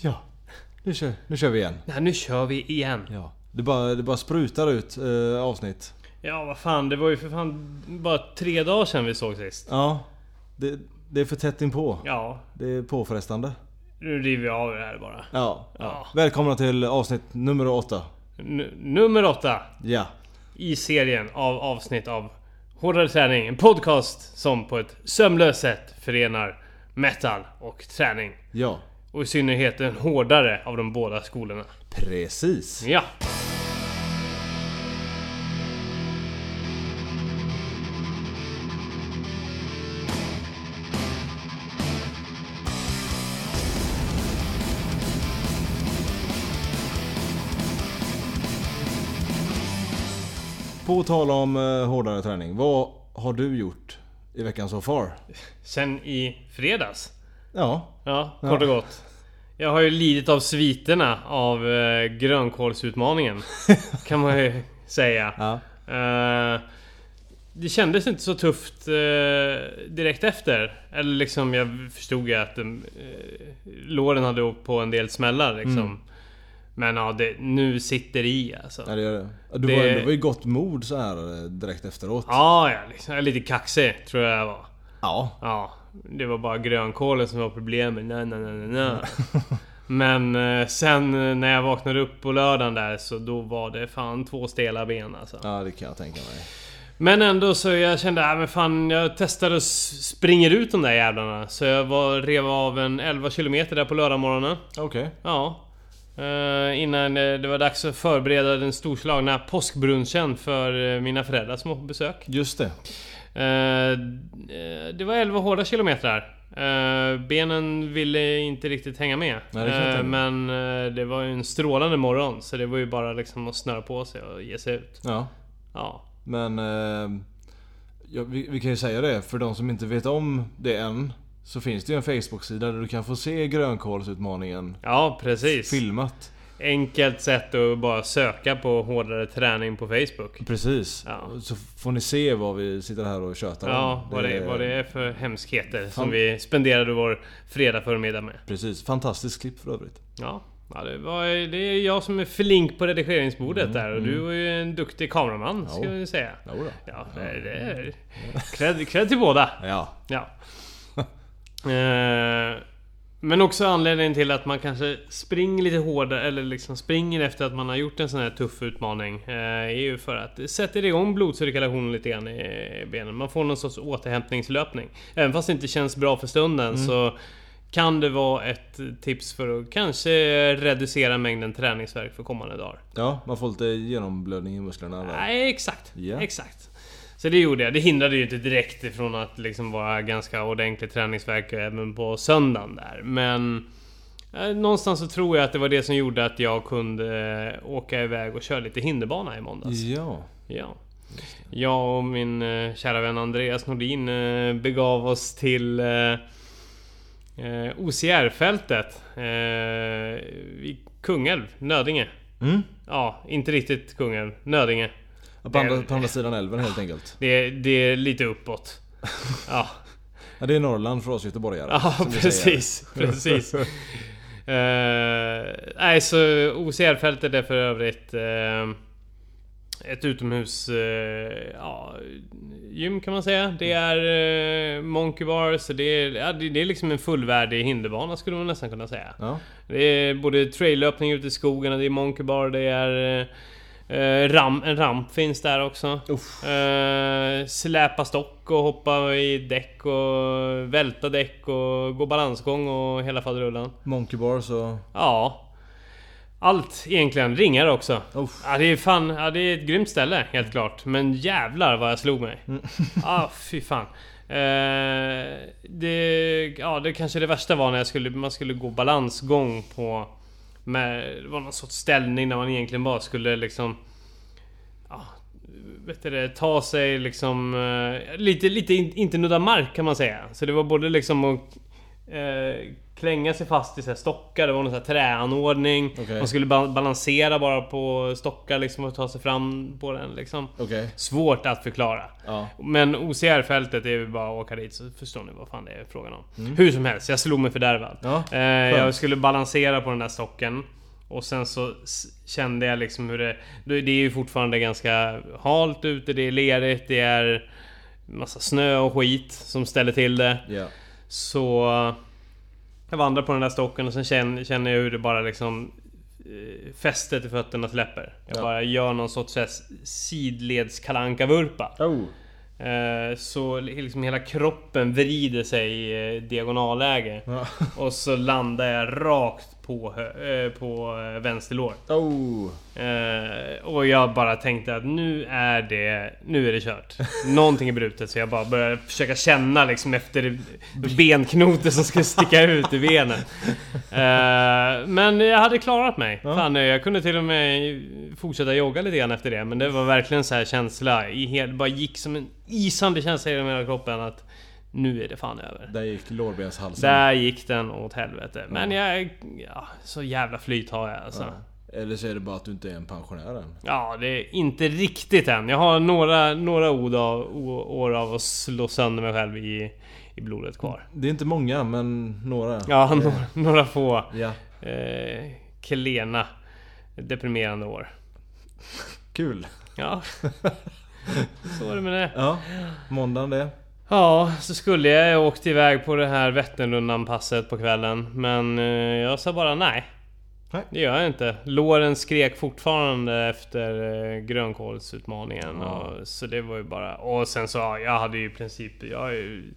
Ja. Nu kör, nu kör vi igen. Nej, nu kör vi igen. Ja. Det bara, det bara sprutar ut eh, avsnitt. Ja, vad fan. Det var ju för fan bara tre dagar sedan vi såg sist. Ja. Det, det är för tätt inpå. Ja, Det är påfrestande. nu river vi av det här bara. Ja. Ja. Välkomna till avsnitt nummer åtta. N- nummer åtta Ja. i serien av avsnitt av Hårdare Träning. En podcast som på ett sömlöst sätt förenar metal och träning. Ja. Och i synnerhet den hårdare av de båda skolorna. Precis. Ja. På tal om eh, hårdare träning. Vad har du gjort i veckan so far? Sen i fredags. Ja. Ja, kort och gott. Jag har ju lidit av sviterna av eh, grönkålsutmaningen. kan man ju säga. Ja. Eh, det kändes inte så tufft eh, direkt efter. Eller liksom, jag förstod ju att eh, låren hade åkt på en del smällar liksom. Men ja, det, nu sitter det i alltså. Ja, det gör det. Ja, Du Det- var, du var i gott mod så här eh, direkt efteråt. Ja, ja, liksom, jag är lite kaxig tror jag jag var. Ja. Ja, det var bara grönkålen som var problemet. Nej, nej, nej, nej, nej. Men eh, sen eh, när jag vaknade upp på lördagen där så då var det fan två stela ben alltså. Ja, det kan jag tänka mig. Men ändå så jag kände, äh, men fan jag testar och s- springer ut de där jävlarna. Så jag var, rev av en 11 km där på lördagmorgonen. Okej. Ja. Eh, innan eh, det var dags att förbereda den storslagna påskbrunchen för eh, mina föräldrar som var på besök. Just det. Eh, eh, det var 11 hårda kilometrar. Eh, benen ville inte riktigt hänga med. Nej, det kan jag Eh, tänka men eh, det var ju en strålande morgon så det var ju bara liksom att snöra på sig och ge sig ut. Ja. Ja. Men eh, ja, vi, vi kan ju säga det, för de som inte vet om det än Så finns det ju en Facebook-sida där du kan få se grönkålsutmaningen Ja, precis. filmat Enkelt sätt att bara söka på hårdare träning på Facebook. Precis. Ja. Så får ni se vad vi sitter här och tjötar Ja, om. vad det, vad det är för hemskheter som Fan. vi spenderade vår fredag förmiddag med. Precis. Fantastiskt klipp för övrigt. Ja, ja det, var, det är jag som är flink på redigeringsbordet där och du är ju en duktig kameraman, ska Ja. vi säga. Jodå. mm. Ja, det är- det är... Cred, cred till båda. Ja. Ja. Eh, Men också anledningen till att man kanske springer lite hårdare eller liksom springer efter att man har gjort en sån här tuff utmaning. eh, Är ju för att det sätter igång blodcirkulationen lite grann i benen. Man får någon sorts återhämtningslöpning. Även fast det inte känns bra för stunden så kan det vara ett tips för att kanske reducera mängden träningsvärk för kommande dagar. Ja, man får lite genomblödning i musklerna. där. Nej, exakt. Ja. Exakt. Så det gjorde jag. Det hindrade ju inte direkt ifrån att liksom vara ganska ordentlig träningsvärk även på söndagen där. Men eh, någonstans så tror jag att det var det som gjorde att jag kunde eh, åka iväg och köra lite hinderbana i måndags. Ja. Ja. Jag och min eh, kära vän Andreas Nordin eh, begav oss till eh, eh, OCR-fältet eh, i Kungälv, Nödinge. Mm. Ja, inte riktigt Kungälv, Nödinge. På, andra, på andra sidan älven helt enkelt. Det är, det är lite uppåt. Ja, Ja, det är Norrland för oss göteborgare. ja som vi säger. precis. precis. Eh, nej, så OCR-fältet är för övrigt eh, ett utomhus eh, ja, gym kan man säga. Det Mm. är eh, monkey bars. Det är, ja, det, det är liksom en fullvärdig hinderbana skulle man nästan kunna säga. Ja. Det är både trail-löpning ute i skogen och det är monkey bar. Det är... eh, eh, ram, en ramp finns där också. Uff. Eh, släpa stock och hoppa i däck och välta däck och gå balansgång och hela faderullan. Monkey bars och... Ja. Allt egentligen. Ringar också. Uff. Ja, det är fan, ja, det är ett grymt ställe helt klart. Men jävlar vad jag slog mig. Mm. ah, fy fan. Eh, det, ja, det kanske det värsta var när jag skulle, man skulle gå balansgång på... Med, det var någon sorts ställning där man egentligen bara skulle liksom... Ja, vet du det, ta sig liksom... eh, lite, lite in, inte nudda mark kan man säga. Så det var både liksom att eh, klänga sig fast i så här stockar. Det var någon så här träanordning. Okej. Man skulle ba- balansera bara på stockar liksom och ta sig fram på den liksom. Okej. Svårt att förklara. Ja. Men OCR-fältet är ju bara att åka dit så förstår ni vad fan det är frågan om. Hur som helst, jag slog mig fördärvad. Ja, eh, jag skulle balansera på den där stocken. Och sen så s- kände jag liksom hur det... Det det är ju fortfarande ganska halt ute, det är lerigt, det är massa snö och skit som ställer till det. Ja. Så... Jag vandrar på den där stocken och sen känner, känner jag hur det bara liksom... eh, Fästet i fötterna släpper. Jag Ja. bara gör någon sorts så här s- sidleds kalanka vurpa Oh. Eh, Så liksom hela kroppen vrider sig i eh, diagonalläge. Ja. Och så landar jag rakt på, hö- eh, på eh, vänster lår. Oh. Eh, Och jag bara tänkte att nu är det, nu är det kört. Någonting är brutet så jag bara började försöka känna liksom efter benknotor som skulle sticka ut i benen. Eh, Men jag hade klarat mig. Fan, jag kunde till och med fortsätta jogga lite grann efter det. Men det var verkligen så här känsla. I hel, det bara gick som en isande känsla i hela kroppen att nu är det fan över. Där gick lårbenshalsen. Där gick den åt helvete. Men jag... Ja, så jävla flyt har jag alltså. Eller så är det bara att du inte är en pensionär än. Ja, det är inte riktigt än. Jag har några, några ord av, o- år av att slå sönder mig själv i, i blodet kvar. Det är inte många, men några. Ja, några, några få Ja. eh, klena deprimerande år. Kul. Ja, så är det med det. Ja. Måndagen det. Ja, så skulle jag ha åkt iväg på det här Vätternrundan-passet på kvällen. Men eh, jag sa bara nej. Nej. Det gör jag inte. Låren skrek fortfarande efter eh, grönkålsutmaningen. Och, så det var ju bara... Och sen så, ja, jag hade ju i princip... Jag är ju...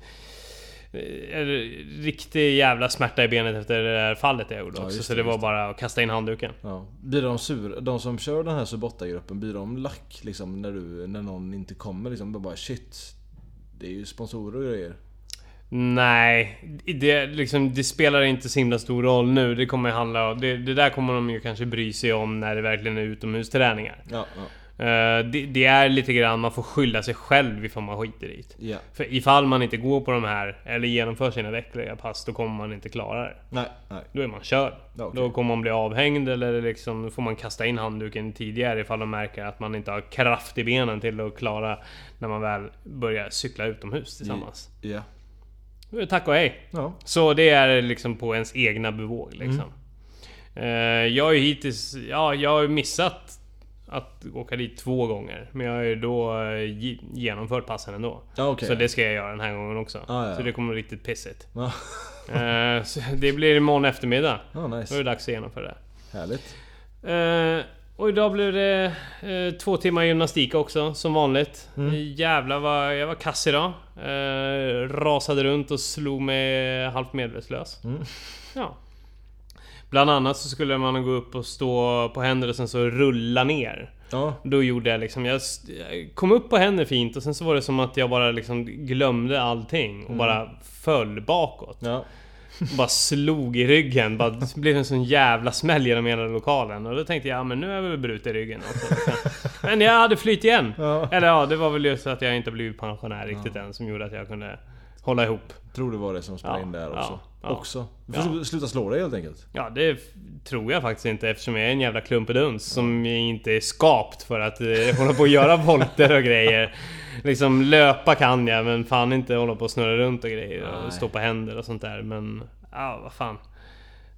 eh, En riktig jävla smärta i benet efter det där fallet jag gjorde Ja, också. just Så det, det var just bara att kasta in handduken. Ja. Blir de sur? De som kör den här Subotta-gruppen, blir de lack liksom när, du, när någon inte kommer? Liksom, bara shit. Det är ju sponsorer och grejer. Nej, det, liksom, det spelar inte så himla stor roll nu. Det kommer handla om, det, det där kommer de ju kanske bry sig om när det verkligen är utomhusträningar. Ja. Ja. Eh, det, det är lite grann, man får skylla sig själv ifall man skiter i det. ja. För ifall man inte går på de här, eller genomför sina veckliga pass, då kommer man inte klara det. Nej. Nej. Då är man körd. Ja, okej. Då kommer man bli avhängd eller liksom, då får man kasta in handduken tidigare ifall de märker att man inte har kraft i benen till att klara när man väl börjar cykla utomhus tillsammans. Ja. Då Mm. är det Tack och hej! Ja. Så det är liksom på ens egna bevåg Mm. liksom. Eh, jag har ju hittills... Ja, jag har ju missat att åka dit två gånger. Men jag har ju då eh, ge- genomfört passen ändå. Ja, okej. Så det ska jag göra den här gången också. Ah, ja, Så ja. det kommer bli riktigt pissigt. Ja. Eh, så det blir imorgon eftermiddag. Ja, Då är det nice. dags att genomföra det. Härligt. Eh, och idag blev det eh, två timmar gymnastik också, som vanligt. Jävlar vad jag var kass idag. Eh, rasade runt och slog mig halvt medvetslös. Ja. Bland annat så skulle man gå upp och stå på händer och sen så rulla ner. Ja. Då gjorde jag liksom, jag st- jag kom upp på händer fint och sen så var det som att jag bara liksom glömde allting och bara föll bakåt. Ja. Och bara slog i ryggen. Bara, det blev en sån jävla smäll genom hela lokalen. Och då tänkte jag, ja men nu har jag väl brutit ryggen också. Men jag hade flytt igen. Ja. Eller ja, det var väl just att jag inte blivit pensionär riktigt än som gjorde att jag kunde hålla ihop. Tror det var det som spelade Ja, in där ja, också. ja. Också. Du får sluta slå dig helt enkelt. Ja, det f- tror jag faktiskt inte eftersom jag är en jävla klumpeduns som inte är skapt för att eh, hålla på och göra volter och grejer. Liksom löpa kan jag, men fan inte hålla på och snurra runt och grejer Nej. och stå på händer och sånt där. Men, ja, vad fan.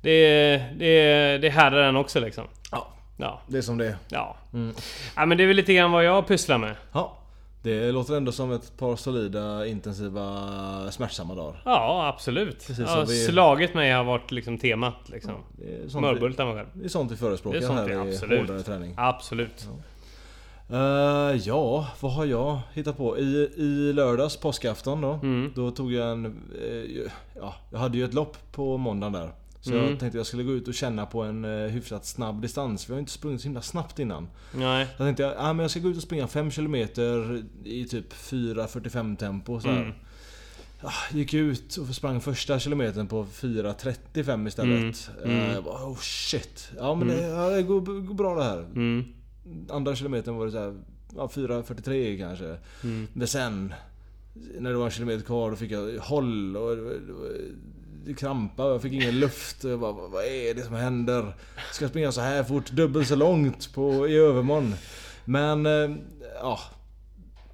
Det, det, det härdar den också liksom. Ja. Ja, Det är som det är. ja. Mm. ja. men det är väl lite grann vad jag pysslar med. Ja. Det låter ändå som ett par solida, intensiva, smärtsamma dagar. Ja, absolut. Precis som Ja, vi- Slagit mig har varit liksom temat liksom. Det är sånt, vi, Mörbultar mig själv. det är sånt vi förespråkar Det är sånt vi- här i absolut. hårdare träning. Absolut. Eh, ja, vad har jag hittat på? I, i lördags, påskafton då. Mm. Då tog jag en... eh, ja, jag hade ju ett lopp på måndagen där. Så Mm. jag tänkte jag skulle gå ut och känna på en eh, hyfsat snabb distans. Vi har ju inte sprungit så himla snabbt innan. Nej. Så tänkte jag, ah, men jag ska gå ut och springa 5 km i typ 4.45 tempo. Så här. Mm. Ah, gick ut och sprang första kilometern på 4.35 istället. Mm, mm. Eh, jag bara, oh shit. Ja men det, ja, det går, går bra det här. Mm. Andra kilometern var det så här, ja, 4.43 kanske. Mm. Men sen, när det var en kilometer kvar, då fick jag håll. Och det var- det var krampa jag fick ingen luft. Jag bara, vad vad är det som händer? Ska jag springa så här fort, dubbelt så långt på, i övermorgon? Men, eh, ja.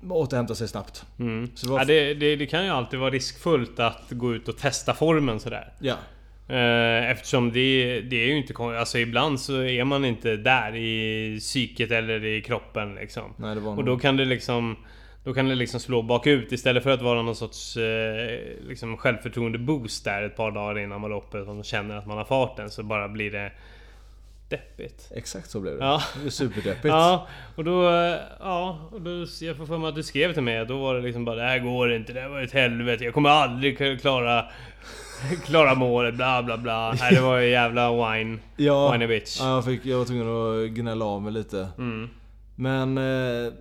Återhämta sig snabbt. Så det var... Mm. Ja, det, det, det kan ju alltid vara riskfullt att gå ut och testa formen sådär. ja. Eh, Eftersom det, det är ju inte kon- Alltså ibland så är man inte där i psyket eller i kroppen liksom. Nej, det var Och nog- då kan det liksom då kan det liksom slå bakut istället för att vara någon sorts eh, liksom självförtroende-boost där ett par dagar innan loppet. Om man känner att man har farten så bara blir det deppigt. Exakt så blev det. Ja. Det är superdeppigt. Ja, och då... eh, Ja, och då jag får för mig att du skrev till mig. Då var det liksom bara det här går inte, det här var ett helvete. Jag kommer aldrig kunna klara... Klara målet, bla bla bla. Nej, det var ju jävla wine. Ja, Whiny bitch. ja, jag, fick, jag var tvungen att gnälla av mig lite. Mm, Men eh,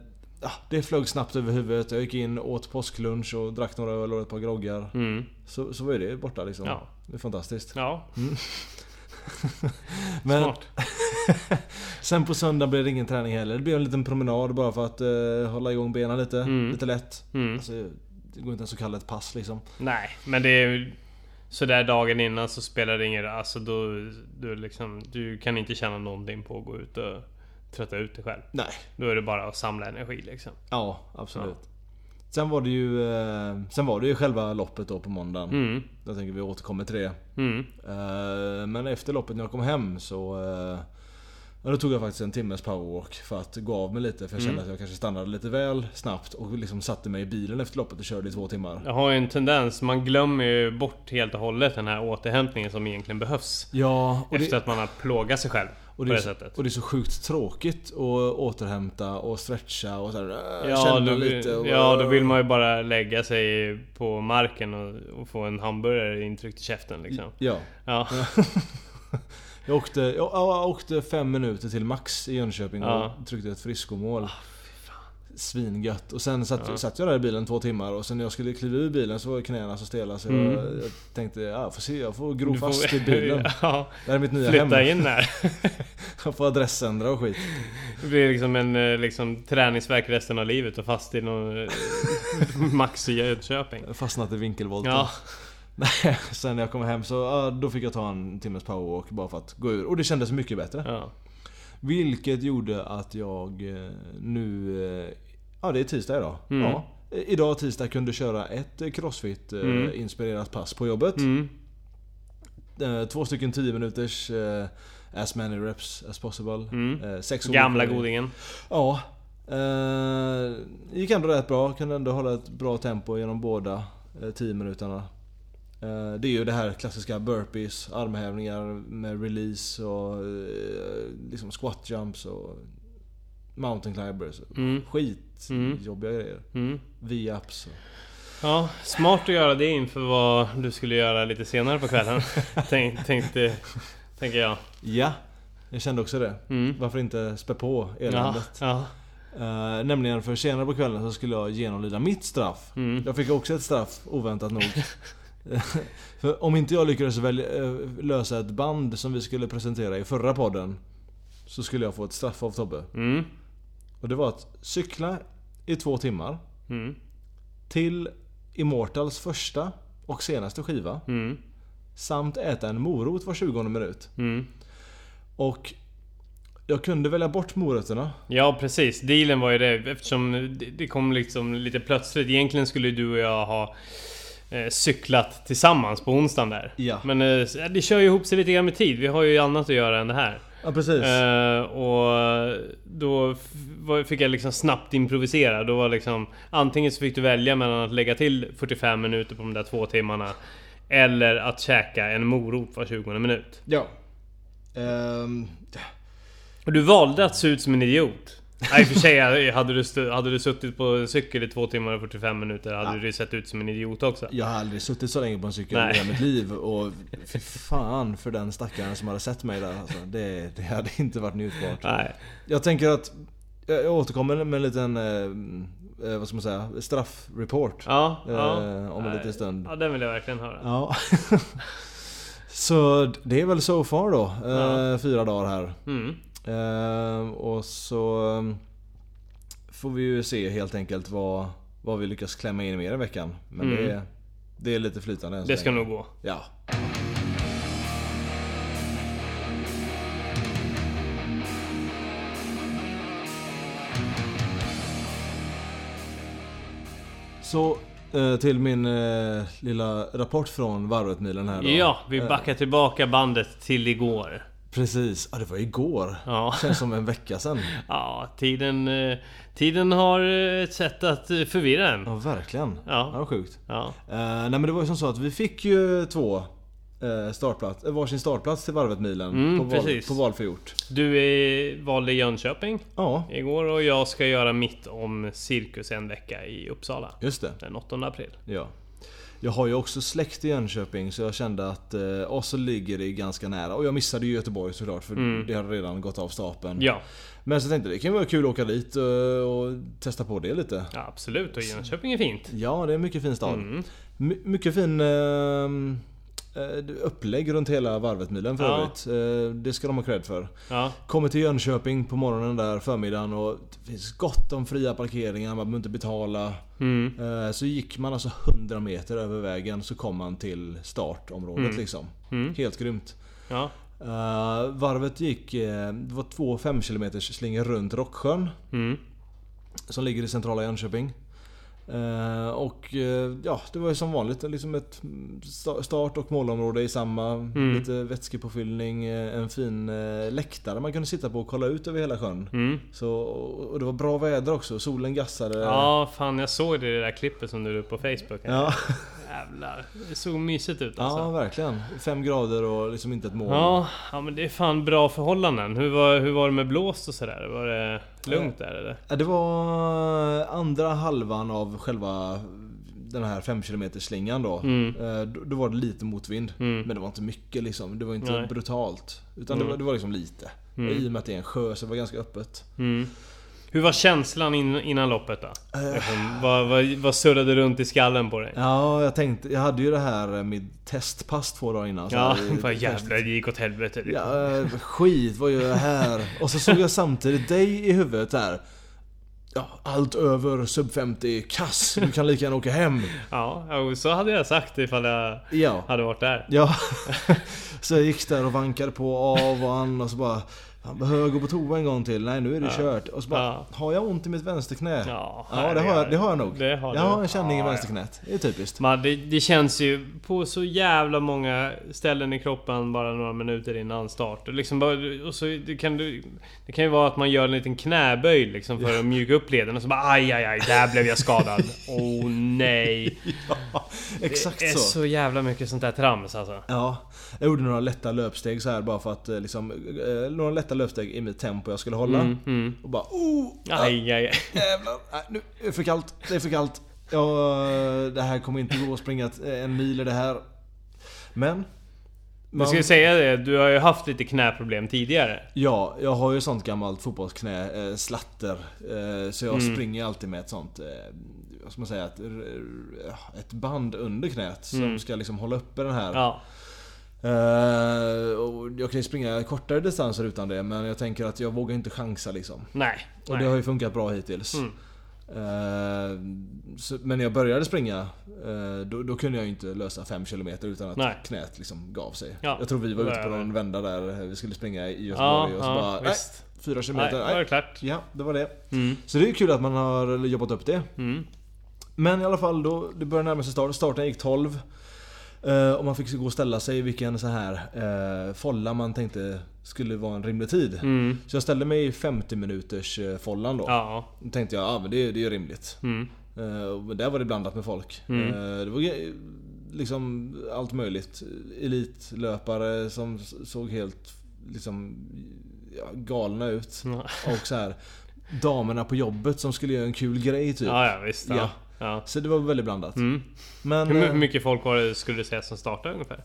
ja, det flög snabbt över huvudet. Jag gick in, åt påsklunch och drack några öl och ett par groggar. Mm. Så, så var ju det borta liksom. Ja. Det är fantastiskt. Ja, Men smart. sen på söndag blev det ingen träning heller. Det blev en liten promenad bara för att eh, hålla igång benen lite. Lite lätt. Mm. Alltså, det går inte ens att kalla ett pass liksom. Nej, men det är ju... Sådär dagen innan så spelar det ingen roll. Alltså då... Du, liksom, du kan inte känna någonting på att gå ut och trötta ut dig själv. Nej. Då är det bara att samla energi liksom. Ja, absolut. Sen var det ju eh, Sen var det ju själva loppet då på måndagen. Mm. Jag tänker vi återkommer till det. Mm. Eh, Men efter loppet när jag kom hem så... eh, Ja, då tog jag faktiskt en timmes powerwalk för att gå av mig lite för jag Mm. kände att jag kanske stannade lite väl snabbt och liksom satte mig i bilen efter loppet och körde i två timmar. Jag har ju en tendens, man glömmer ju bort helt och hållet den här återhämtningen som egentligen behövs. Ja, och efter det, att man har plågat sig själv och, på det det är, så- sättet. och det är så sjukt tråkigt att återhämta och stretcha och så här, eh, Ja känna då, lite. Och, ja, då vill man ju bara lägga sig på marken och, och få en hamburgare intryckt i käften liksom. Ja. Ja, Jag åkte, jag, jag åkte fem minuter till Max i Jönköping och Ja. Ah, tryckte ett friskomål. Svingött. Och sen satt, satt jag där i bilen två timmar och sen när jag skulle kliva ur bilen så var knäna så stela så jag, jag tänkte ja, jag får se, jag får gro Mm. Du får- fast i bilen. ja, Det här är mitt nya flytta hem. in där. Jag får adressändra och skit. Det blir liksom en eh, liksom, träningsvärk resten av livet och fast i någon eh, Max i Jönköping. Jag har fastnat i vinkelvolten. Ja, Nej, sen när jag kom hem så ja, då fick jag ta en timmes powerwalk bara för att gå ur. Och det kändes mycket bättre. ja. Vilket gjorde att jag eh, nu... eh, Ja, det är tisdag idag. Ja. I- Idag tisdag kunde köra ett eh, crossfit-inspirerat pass på jobbet. Mm. Eh, Två stycken 10 minuters eh, As many reps as possible. Eh, Sex olika- Gamla godingen. Ja. Eh, gick ändå rätt bra. Kunde ändå hålla ett bra tempo genom båda eh, 10 minuterna. Eh, det är ju det här klassiska burpees, armhävningar med release och eh, liksom squat jumps och mountain climbers. Mm. Skit Mm. jobbiga grejer. Mm. V-ups. och- Ja, smart att göra det inför vad du skulle göra lite senare på kvällen. Tänk, tänkte, tänker jag. Ja, jag kände också det. Mm. Varför inte spä på Ja, eländet? ja. Eh, nämligen för senare på kvällen så skulle jag genomlida mitt straff. Mm. Jag fick också ett straff, oväntat nog. för om inte jag lyckades väl, eh, lösa ett band som vi skulle presentera i förra podden. Så skulle jag få ett straff av Tobbe. Mm. Och det var att cykla i två timmar. Mm. Till Immortals första och senaste skiva. Mm. Samt äta en morot var 20 minut. Mm. Och jag kunde välja bort morötterna. Ja precis, dealen var ju det eftersom det- det kom liksom lite plötsligt. Egentligen skulle du och jag ha eh, cyklat tillsammans på onsdagen där. Ja. Men eh, det kör ju ihop sig lite grann med tid. Vi har ju annat att göra än det här. Ja precis. Eh, och då f- var- fick jag liksom snabbt improvisera. Då var liksom, antingen så fick du välja mellan att lägga till 45 minuter på de där två timmarna. Eller att käka en morot var 20 minut. Ja. Ehm, Och du valde att se ut som en idiot. Nej, i och för sig, hade du, stu- hade du suttit på en cykel i två timmar och 45 minuter hade du sett ut som en idiot också. Jag har aldrig suttit så länge på en cykel Nej. i hela mitt liv och fy fan för den stackaren som hade sett mig där alltså, det, det hade inte varit njutbart. Nej. Jag tänker att jag jag återkommer med en liten, eh, eh, vad ska man säga, straffreport. Ja, ja. Eh, om en Nej. liten stund. Ja, den vill jag verkligen höra. Ja. så det är väl so far då, eh, fyra dagar här. Mm. Eh, och så eh, får vi ju se helt enkelt vad, vad vi lyckas klämma in mer i veckan. Men det, Det är lite flytande än så Mm. Det ska länge. nog gå. Ja. Så eh, till min eh, lilla rapport från varvet-milen här då. Eh. Ja, vi backar tillbaka bandet till igår. Precis. Ja, det var igår. Ja. Känns som en vecka sedan. Ja, tiden, eh, tiden har eh, ett sätt att eh, förvirra en. Ja, verkligen. Ja. Det var sjukt. Ja. Eh, nej men det var ju som så att vi fick ju två uh, startplats, eh, varsin startplats till varvet-milen. Mm, på, val, precis. på valfri ort. Du eh, valde Jönköping Ja, igår och jag ska göra mitt om cirkus en vecka i Uppsala. just det. Den 8 april. Ja. Jag har ju också släkt i Jönköping så jag kände att eh, och så ligger det ganska nära. Och jag missade ju Göteborg såklart för det hade redan gått av stapeln. Mm. Ja, Men så tänkte jag det kan vara kul att åka dit eh, och testa på det lite. ja, absolut. Och Jönköping är fint. Ja, det är en mycket fin stad. Mm. My- mycket fin eh, eh, upplägg runt hela varvet-milen för Ja. övrigt. Eh, det ska de ha cred för. Ja, Kommer till Jönköping på morgonen där förmiddagen och det finns gott om fria parkeringar, man behöver inte betala. Mm. Eh, Så gick man alltså 100 meter över vägen så kom man till startområdet liksom. Mm. Helt grymt. ja. Eh, Varvet gick, eh, det var två 5 km slingor runt Rocksjön Mm. som ligger i centrala Jönköping. Eh, Och eh, ja, det var ju som vanligt liksom ett sta- start och målområde i samma. Lite vätskepåfyllning, eh, en fin eh, läktare man kunde sitta på och kolla ut över hela sjön. Mm. Så, och det var bra väder också, solen gassade. Ja, fan jag såg det i det där klippet som du la upp på Facebook. Ja, Jävlar. Det såg mysigt ut alltså. ja, verkligen. Fem grader och liksom inte ett moln. Ja, ja men det är fan bra förhållanden. Hur var, hur var det med blåst och sådär? Var det lugnt där eller? Ja, Äh, Det var äh, andra halvan av själva den här 5 km slingan då. Mm. Eh, då. Då var det lite motvind. Men det var inte mycket liksom. Det var inte Nej. Mm. brutalt. Utan det, var, det var liksom lite. Och I och med att det är en sjö så det var ganska öppet. Mm. Hur var känslan in, innan loppet då? Liksom, vad, vad, vad surrade runt i skallen på dig? Ja, jag tänkte. Jag hade ju det här eh, mitt testpass två dagar innan. så Ja, här i- vad jävlar det gick åt helvete. Det- Ja, eh, skit, vad gör jag här? Och så såg jag samtidigt dig i huvudet där. Ja, allt över sub 50, kass, du kan lika gärna åka hem. Ja, jo, så hade jag sagt ifall jag Ja. hade varit där. Ja. Så jag gick där och vankade på av och an och så bara... Fan, behöver jag gå på toa en gång till? Nej, nu är det kört. Och så bara, Ja. har jag ont i mitt vänsterknä? Ja, det, har jag, det har jag nog. Det har jag du. har en känning Ja, i ja. vänsterknät. Det är typiskt. Man, det, det känns ju på så jävla många ställen i kroppen bara några minuter innan start. Och liksom bara, och så, det, kan du, det kan ju vara att man gör en liten knäböj liksom för att mjuka upp leden och så bara aj, aj, aj, där blev jag skadad. oh nej. Exakt det är så. så. jävla mycket sånt där trams alltså. Ja, jag gjorde några lätta löpsteg så här bara för att eh, liksom, eh, några lätta löpsteg i mitt tempo jag skulle hålla. Mm. Och bara oh, Aj, aj, aj. jävlar, nej, nu är det för kallt, det är för kallt. Ja, det här kommer inte gå att springa ett- eh, en mil i det här. Men... Du ska ju säga det, du har ju haft lite knäproblem tidigare. Ja, jag har ju sånt gammalt fotbollsknä, eh, slatter. Eh, så jag springer alltid med ett sånt, eh, vad ska man säga, ett, ett band under knät som ska liksom hålla uppe den här. Ja. Eh, och jag kan ju springa kortare distanser utan det men jag tänker att jag vågar inte chansa liksom. Nej. Och nej. Mm. det har ju funkat bra hittills. Eh, så, men när jag började springa eh, då, då kunde jag ju inte lösa 5 km utan att Nej. knät liksom gav sig. Ja, jag tror vi var det ute på är det. någon vända där eh, vi skulle springa i Ja, Göteborg och så ja bara "Äh, nej, visst. 4 km. Nej, då var det klart. Mm. Ja, det var det. Så det är ju kul att man har jobbat upp det. Men i alla fall då, det började närma sig start. Starten gick 12. eh, Och man fick gå och ställa sig i vilken så här eh, folla man tänkte skulle vara en rimlig tid. Så jag ställde mig i 50 minuters eh, follan då. Mm. Ja. Då tänkte jag, ja ah, men det, det är ju rimligt. Mm. Eh, och där var det blandat med folk. Eh, det var ge- liksom allt möjligt. Elitlöpare som s- såg helt liksom, ja, galna ut. Ja. Och så här damerna på jobbet som skulle göra en kul grej typ. Ja, ja visst. Ja. Ja. Ja. Så det var väldigt blandat. Mm. Men... Hur eh, mycket folk var det skulle du säga som startade ungefär?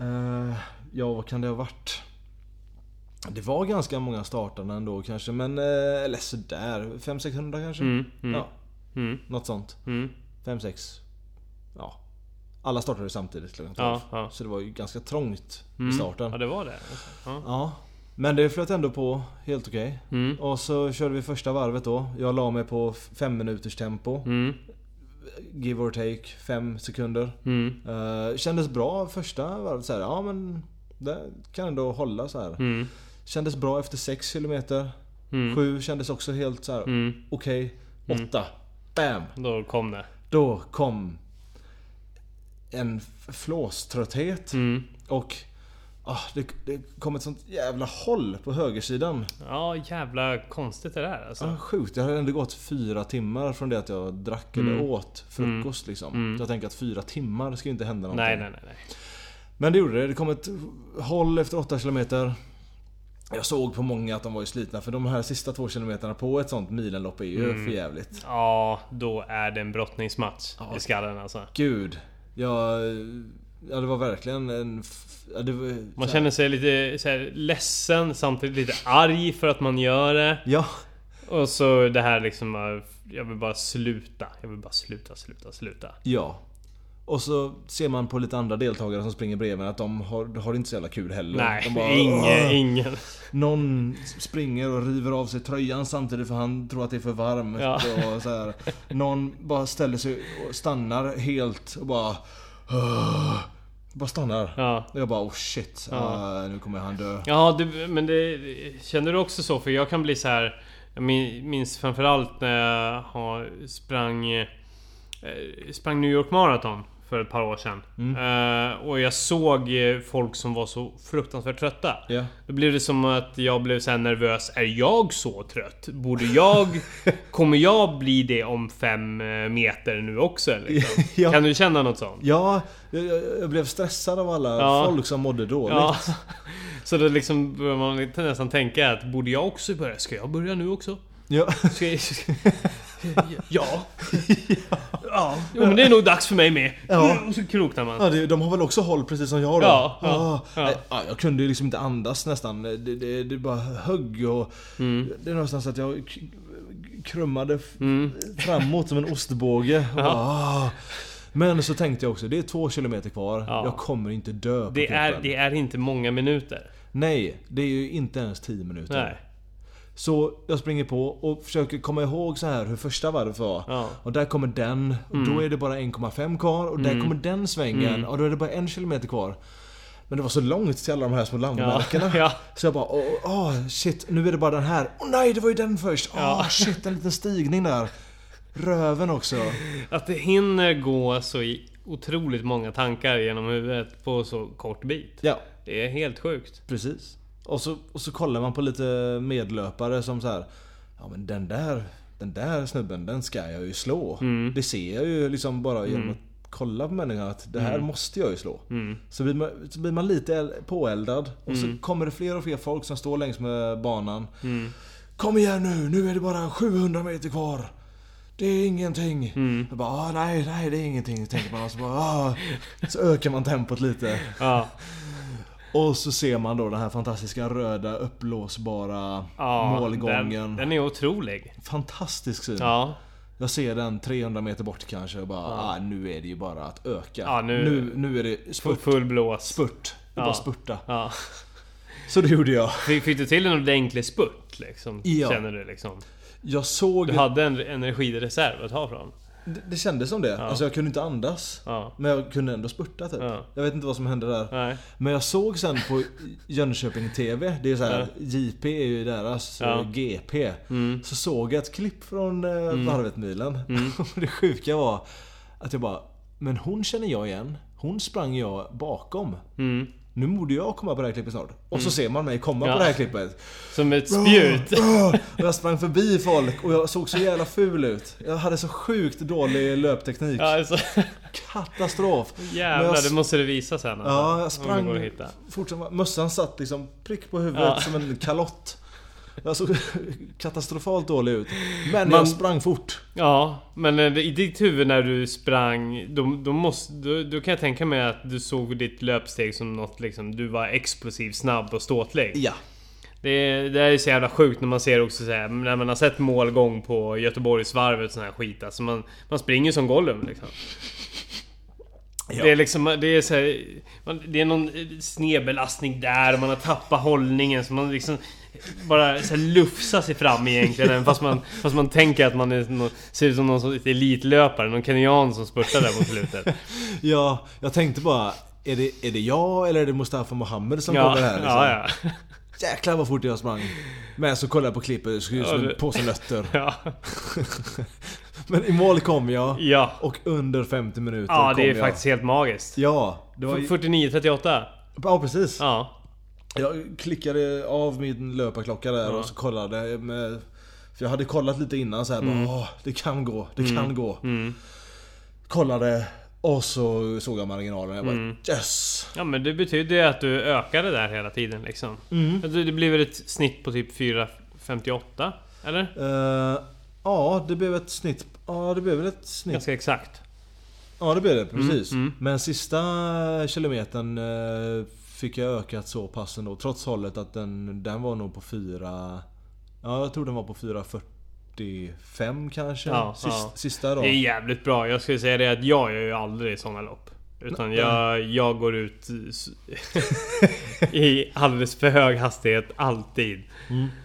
Eh, ja, vad kan det ha varit? Det var ganska många startande ändå kanske, men... eh, Eller sådär, 500-600 kanske? Mm, mm, Ja, mm, något sånt. mm. 5-6. Ja. Alla startade samtidigt klockan 12. Ja, ja. Så det var ju ganska trångt i starten. ja, det var det. Ja. Ja. Men det flöt ändå på helt okej. Mm. Och så körde vi första varvet då. Jag la mig på fem minuters tempo. Mm. give or take, fem sekunder. Mm. Eh, kändes bra första varvet så här. Ja men det kan ändå hålla så här. Mm. Kändes bra efter 6 km. Mm. 7 kändes också helt så här. Mm. okej. 8. Bam! Då kom det. Då kom en f- flåströtthet Mm. och ah, det, det kom ett sånt jävla håll på högersidan. Ja, jävla konstigt det där alltså. Ah, sjukt, det hade ändå gått fyra timmar från det att jag drack Mm. eller åt frukost liksom. Så jag tänker att fyra timmar ska ju inte hända någonting. nej, nej, nej, nej. Men det gjorde det. Det kom ett håll efter 8 kilometer. Jag såg på många att de var ju slitna för de här sista två kilometerna på ett sånt milenlopp är ju Mm. för jävligt. Ja, då är det en brottningsmatch Ja. i skallen alltså. Gud. Jag... Ja det var verkligen en... f- Ja, det var, Man så här- känner sig lite så här, ledsen samtidigt lite arg för att man gör det. Ja. Och så det här liksom eh, Jag vill bara sluta. Jag vill bara sluta, sluta, sluta. Ja. Och så ser man på lite andra deltagare som springer bredvid att de har, de har inte så jävla kul heller. Nej, de bara, ingen, "Åh!" ingen. Någon springer och river av sig tröjan samtidigt för han tror att det är för varmt. Ja. Och så här. Någon bara ställer sig och stannar helt och bara... "Åh!" Bara stannar. Ja. Och jag bara oh shit, ah, nu kommer han dö. Ja, du, men det, känner du också så? För jag kan bli så här. Jag min- minns framförallt när jag har sprang, eh, sprang New York Marathon för ett par år sedan. Mm. Eh, och jag såg eh, folk som var så fruktansvärt trötta. Ja. Då blev det som att jag blev så här nervös. Är jag så trött? Borde jag... Kommer jag bli det om fem eh, meter nu också? Liksom? Ja. Kan du känna något sånt? Ja, jag, jag- jag blev stressad av alla Ja. folk som mådde dåligt. Ja. Så då liksom börjar man lite nästan tänka att borde jag också börja? Ska jag börja nu också? Ja. Ska jag... Ja. Ja. Jo, men det är nog dags för mig med. Ja. Och så kroknar man. Ja, det, de har väl också håll precis som jag då? Ja, ja, Ah, ja. nej, ah, jag kunde ju liksom inte andas nästan. Det, det, det bara högg och... Mm. Det är någonstans att jag k- krummade f- framåt som en ostbåge. Och bara, ah. Men så tänkte jag också, det är två kilometer kvar. Ja. Jag kommer inte dö på Det är, kuppen. det är inte många minuter. Nej, det är ju inte ens tio minuter. Nej. Så jag springer på och försöker komma ihåg så här hur första varvet var. Ja. Mm. Och där kommer den. Och då är det bara 1,5 kvar. Och där kommer den svängen. Och då är det bara en kilometer kvar. Men det var så långt till alla de här små landmärkena. ja. Så jag bara åh åh, shit, nu är det bara den här. Åh nej, det var ju den först. Åh shit, en liten stigning där. Röven också. Att det hinner gå så i otroligt många tankar genom huvudet på så kort bit. Ja, Det är helt sjukt. precis. Och så, och så kollar man på lite medlöpare som så här. Ja men den där, den där snubben, den ska jag ju slå. Det ser jag ju liksom bara genom att kolla på människan att det här måste jag ju slå. Så, blir man, så blir man lite el- påeldad och så kommer det fler och fler folk som står längs med banan. Kom igen nu, nu är det bara 700 meter kvar. Det är ingenting. Jag bara, "Ah, nej, nej det är ingenting. Tänker man. Och Så, bara, "Ah." så ökar man tempot lite. Ja, Och så ser man då den här fantastiska röda uppblåsbara ja, målgången. Den, den är otrolig. Fantastisk syn. Ja, Jag ser den 300 meter bort kanske och bara ah, nu är det ju bara att öka. Ja, nu- nu, nu är det på spurt. full blås. spurt. Det är Ja. bara spurta. Ja. Så det gjorde jag. Fick fick du till en ordentlig spurt liksom? Ja. Känner du liksom? Jag såg... Du hade en energireserv att ta från? Det, det kändes som det. Alltså jag kunde inte andas. Ja. Men jag kunde ändå spurta typ. Ja. Jag vet inte vad som hände där. Nej. Men jag såg sen på Jönköping TV, det är så här, JP är ju deras Ja. Mm. eh, GP. Så såg jag ett klipp från eh, Varvet-milen. Och det sjuka var att jag bara, men hon känner jag igen. Hon sprang jag bakom. Mm. Nu borde jag komma på det här klippet snart. Och så ser man mig komma Ja. på det här klippet. Som ett spjut? Åh, åh. Och jag sprang förbi folk och jag såg så jävla ful ut. Jag hade så sjukt dålig löpteknik. Ja, alltså, Katastrof. Men jag jävlar, det måste du visa sen. Alltså, Ja, jag om det går sprang att hitta. fort som Mössan satt liksom prick på huvudet Ja. som en kalott. Jag såg katastrofalt dålig ut. Men Man- jag sprang fort. Ja, men eh, i ditt huvud när du sprang, då, då, måste, då, då kan jag tänka mig att du såg ditt löpsteg som något liksom, du var explosiv, snabb och ståtlig. Ja. Det, det är ju så jävla sjukt när man ser också så här, när man har sett målgång på Göteborgsvarvet och sån här skit. Alltså man, man springer som Gollum liksom. Ja. Det är liksom, det är så här, man, Det är någon snedbelastning där och man har tappat hållningen så man liksom bara så här lufsar sig fram egentligen även fast man, fast man tänker att man är, nå- ser ut som någon som elitlöpare, någon kenyan som spurtar där mot slutet. Ja, jag tänkte bara... Är det, är det jag eller är det Mustafa Mohamed som Ja, kommer här? Liksom? ja, ja. Jäklar vad fort jag sprang. Men så kollade jag på klippet, det såg ut som Ja, en det- påse nötter. Ja, Men i mål kom jag. ja. Och under 50 minuter ja kom det är jag. faktiskt helt magiskt. Ja, det var... 49-38. Ja, precis. Ja. Jag klickade av min löparklocka där och så kollade eh, med... För jag hade kollat lite innan så här, Mm. bara, Åh, det kan gå, det kan gå. Kollade och så såg jag marginalen jag bara Mm. yes! Ja men det betyder ju att du ökade där hela tiden liksom. Att Det det blir väl ett snitt på typ 4.58? Eller? Eh, ja, det blev ett snitt. Ja, det blev väl ett snitt. Ganska exakt. Ja, det blev det. Precis. Mm, Men sista kilometern eh, fick jag ökat så pass ändå. Trots hållet att den, den var nog på 4... Ja, jag tror den var på 4.45 kanske. Ja, Sist, ja. Sista Det är dagen. jävligt bra. Jag skulle säga det att jag gör ju aldrig såna lopp. Utan jag, jag går ut i s- i alldeles för hög hastighet alltid.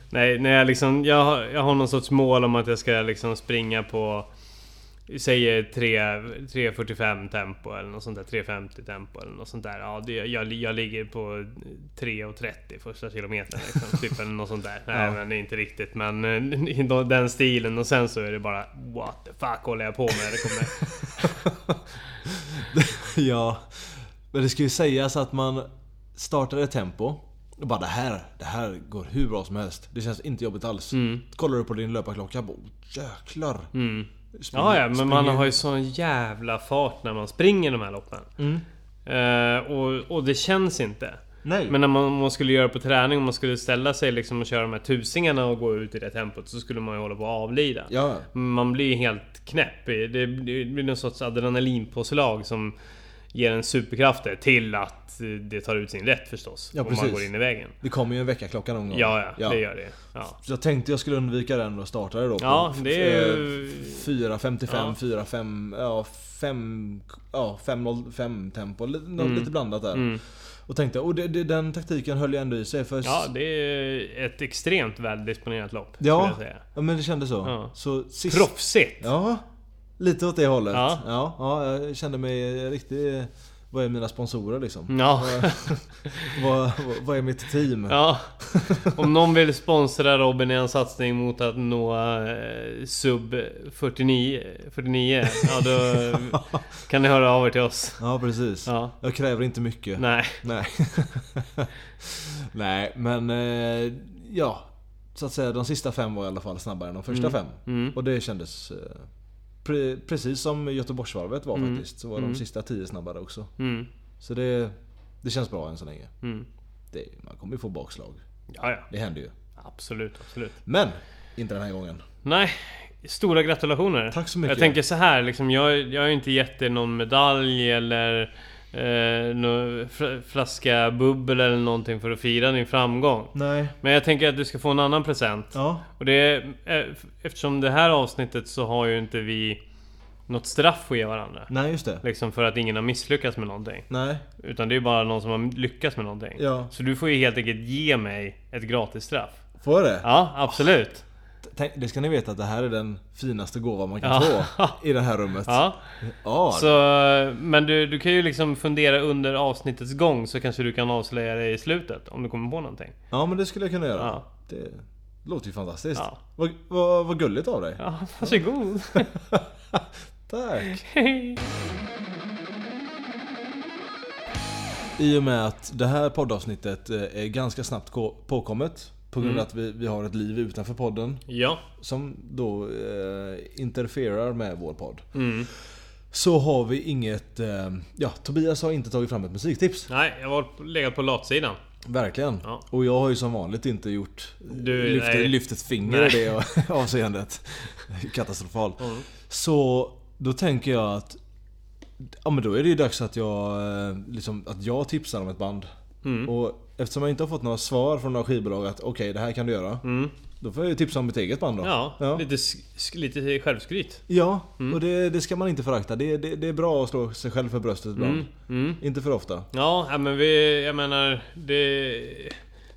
Nej, när jag, liksom, jag, har- jag har någon sorts mål om att jag ska liksom springa på Säger 3 3.45 tempo eller något sånt där. 3.50 tempo eller något sånt där. Ja, det, jag, jag ligger på 3.30 första kilometern. Liksom, typ, eller något sånt där. Nej, Ja. men inte riktigt. Men eh, i då- den stilen. Och sen så är det bara What the fuck håller jag på med? Det kommer... ja. Men det ska ju sägas att man startar ett tempo. Och bara det här, det här går hur bra som helst. Det känns inte jobbigt alls. Mm. Kollar du på din löparklocka bara oh, jäklar. Mm. Ja, ja, men man har ju sån jävla fart när man springer de här loppen. Eh, och, och det känns inte. Nej. Men när man, om man skulle göra på träning, om man skulle ställa sig liksom och köra de här tusingarna och gå ut i det tempot så skulle man ju hålla på att avlida. Ja. Man blir ju helt knäpp. Det det blir någon sorts adrenalinpåslag som ger en superkrafter till att eh, det tar ut sin rätt förstås. Ja, om man precis. går in i vägen. Det kommer ju en veckaklocka någon gång. Ja, ja, det gör det. Ja. Så jag tänkte jag skulle undvika den och startade då på Ja, det är ju- eh, 4.55, 4.5, ja 5, ja 5.05 tempo. Lite, Mm. lite blandat där. Och tänkte, och det, det, den taktiken höll jag ändå i sig för... ja, det är ett extremt väldisponerat lopp. skulle ja, jag säga. ja, men det kändes så. Ja. Så sist... Proffsigt! Ja, lite åt det hållet. Ja. Ja, ja, jag kände mig riktigt... Vad är mina sponsorer liksom? Ja. Vad, vad, vad är mitt team? Mm. ja. Om någon vill sponsra Robin i en satsning mot att nå eh, sub 49, 49 ja då kan ni höra av er till oss. Ja, precis. Ja. Jag kräver inte mycket. Nej. Nej. Nej, men eh, ja. Så att säga, de sista fem var i alla fall snabbare än de Mm. första fem. Och det kändes eh, pre- precis som Göteborgsvarvet var faktiskt. Så var de sista tio snabbare också. Mm. Så det, det känns bra än så länge. Mm. Det, man kommer ju få bakslag. Ja, ja. Det händer ju. Absolut, absolut. Men! Inte den här gången. Nej, stora gratulationer. Tack så mycket. Jag tänker så här, liksom, jag, jag har ju inte gett dig någon medalj eller eh, någon fr- flaska bubbel eller någonting för att fira din framgång. Nej. Men jag tänker att du ska få en annan present. Ja. Och det, eh, eftersom det här avsnittet så har ju inte vi något straff att ge varandra. Nej, just det. Liksom för att ingen har misslyckats med någonting. Nej. Utan det är bara någon som har lyckats med någonting. Ja. Så du får ju helt enkelt ge mig ett gratis straff. Får jag det? Ja, absolut. Tänk, det ska ni veta att det här är den finaste gåvan man kan Ja. få i det här rummet. Ja. Ja, Så, men du, du kan ju liksom fundera under avsnittets gång så kanske du kan avslöja det i slutet om du kommer på någonting. Ja men det skulle jag kunna göra. Ja. Det låter ju fantastiskt. Ja. Vad, vad, vad gulligt av dig. Ja, varsågod. Tack. Hej. I och med att det här poddavsnittet eh, är ganska snabbt gå- påkommet. På grund av Mm. att vi, vi har ett liv utanför podden. ja. Som då eh, interferar med vår podd. Mm. Så har vi inget... Eh, ja, Tobias har inte tagit fram ett musiktips. Nej, jag har legat på latsidan. Verkligen. Ja. Och jag har ju som vanligt inte gjort... eh, Du, lyft, nej. lyft ett finger i Nej. det avseendet. Katastrofalt. Så då tänker jag att... Ja men då är det ju dags att jag, eh, liksom, att jag tipsar om ett band. Mm. Och eftersom jag inte har fått några svar från några skivbolag att okej, det här kan du göra. Mm. Då får jag ju tipsa om mitt eget band då. Ja, ja. Lite, Mm. sk- lite självskryt. Ja, och det, det ska man inte förakta. Det, det, det är bra att slå sig själv för bröstet ibland. Mm. Mm. Inte för ofta. Ja, ja, men vi, jag menar, det...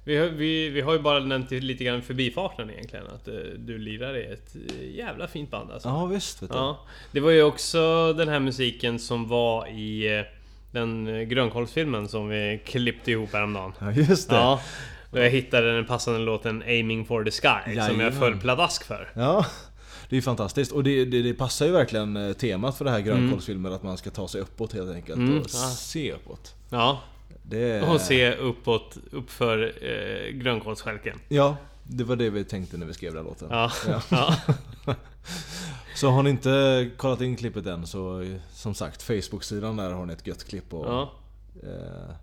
Vi har, vi, vi har ju bara nämnt det lite grann i förbifarten egentligen att eh, du lirar i ett eh, jävla fint band alltså. Ja, visst vet du. Ja, det var ju också den här musiken som var i eh, den eh, grönkolsfilmen som vi klippte ihop häromdagen. Ja, just det. Ja. Ja, och jag hittade den passande låten Aiming for the Sky som jag Jajamän. föll pladask för. Det är ju fantastiskt och det, det, det passar ju verkligen eh, temat för det här grönkålsfilmer att man ska ta sig uppåt helt enkelt Mm. och Ja. se uppåt. Ja, Det är... och se uppåt, uppför eh, grönkålsstjälken. Ja, det var det vi tänkte när vi skrev den här låten. Ja, ja. Så har ni inte kollat in klippet än så eh, som sagt, Facebook-sidan där har ni ett gött klipp och ja. eh,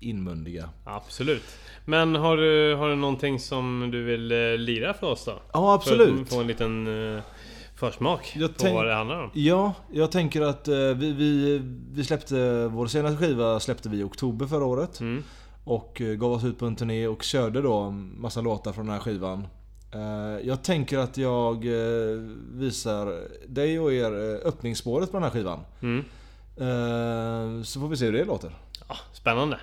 inmundiga. Absolut. Men har du, har du någonting som du vill eh, lira för oss då? Ja, För att absolut. få en liten eh, försmak Jag på tänk- vad det handlar om. Ja, jag tänker att eh, vi, vi, vi släppte, vår senaste skiva släppte vi i oktober förra året. Mm. Och eh, gav oss ut på en turné och körde då massa låtar från den här skivan. Eh, Jag tänker att jag eh, visar dig och er eh, öppningsspåret på den här skivan. Mm. Eh, Så får vi se hur det låter. Ja, spännande.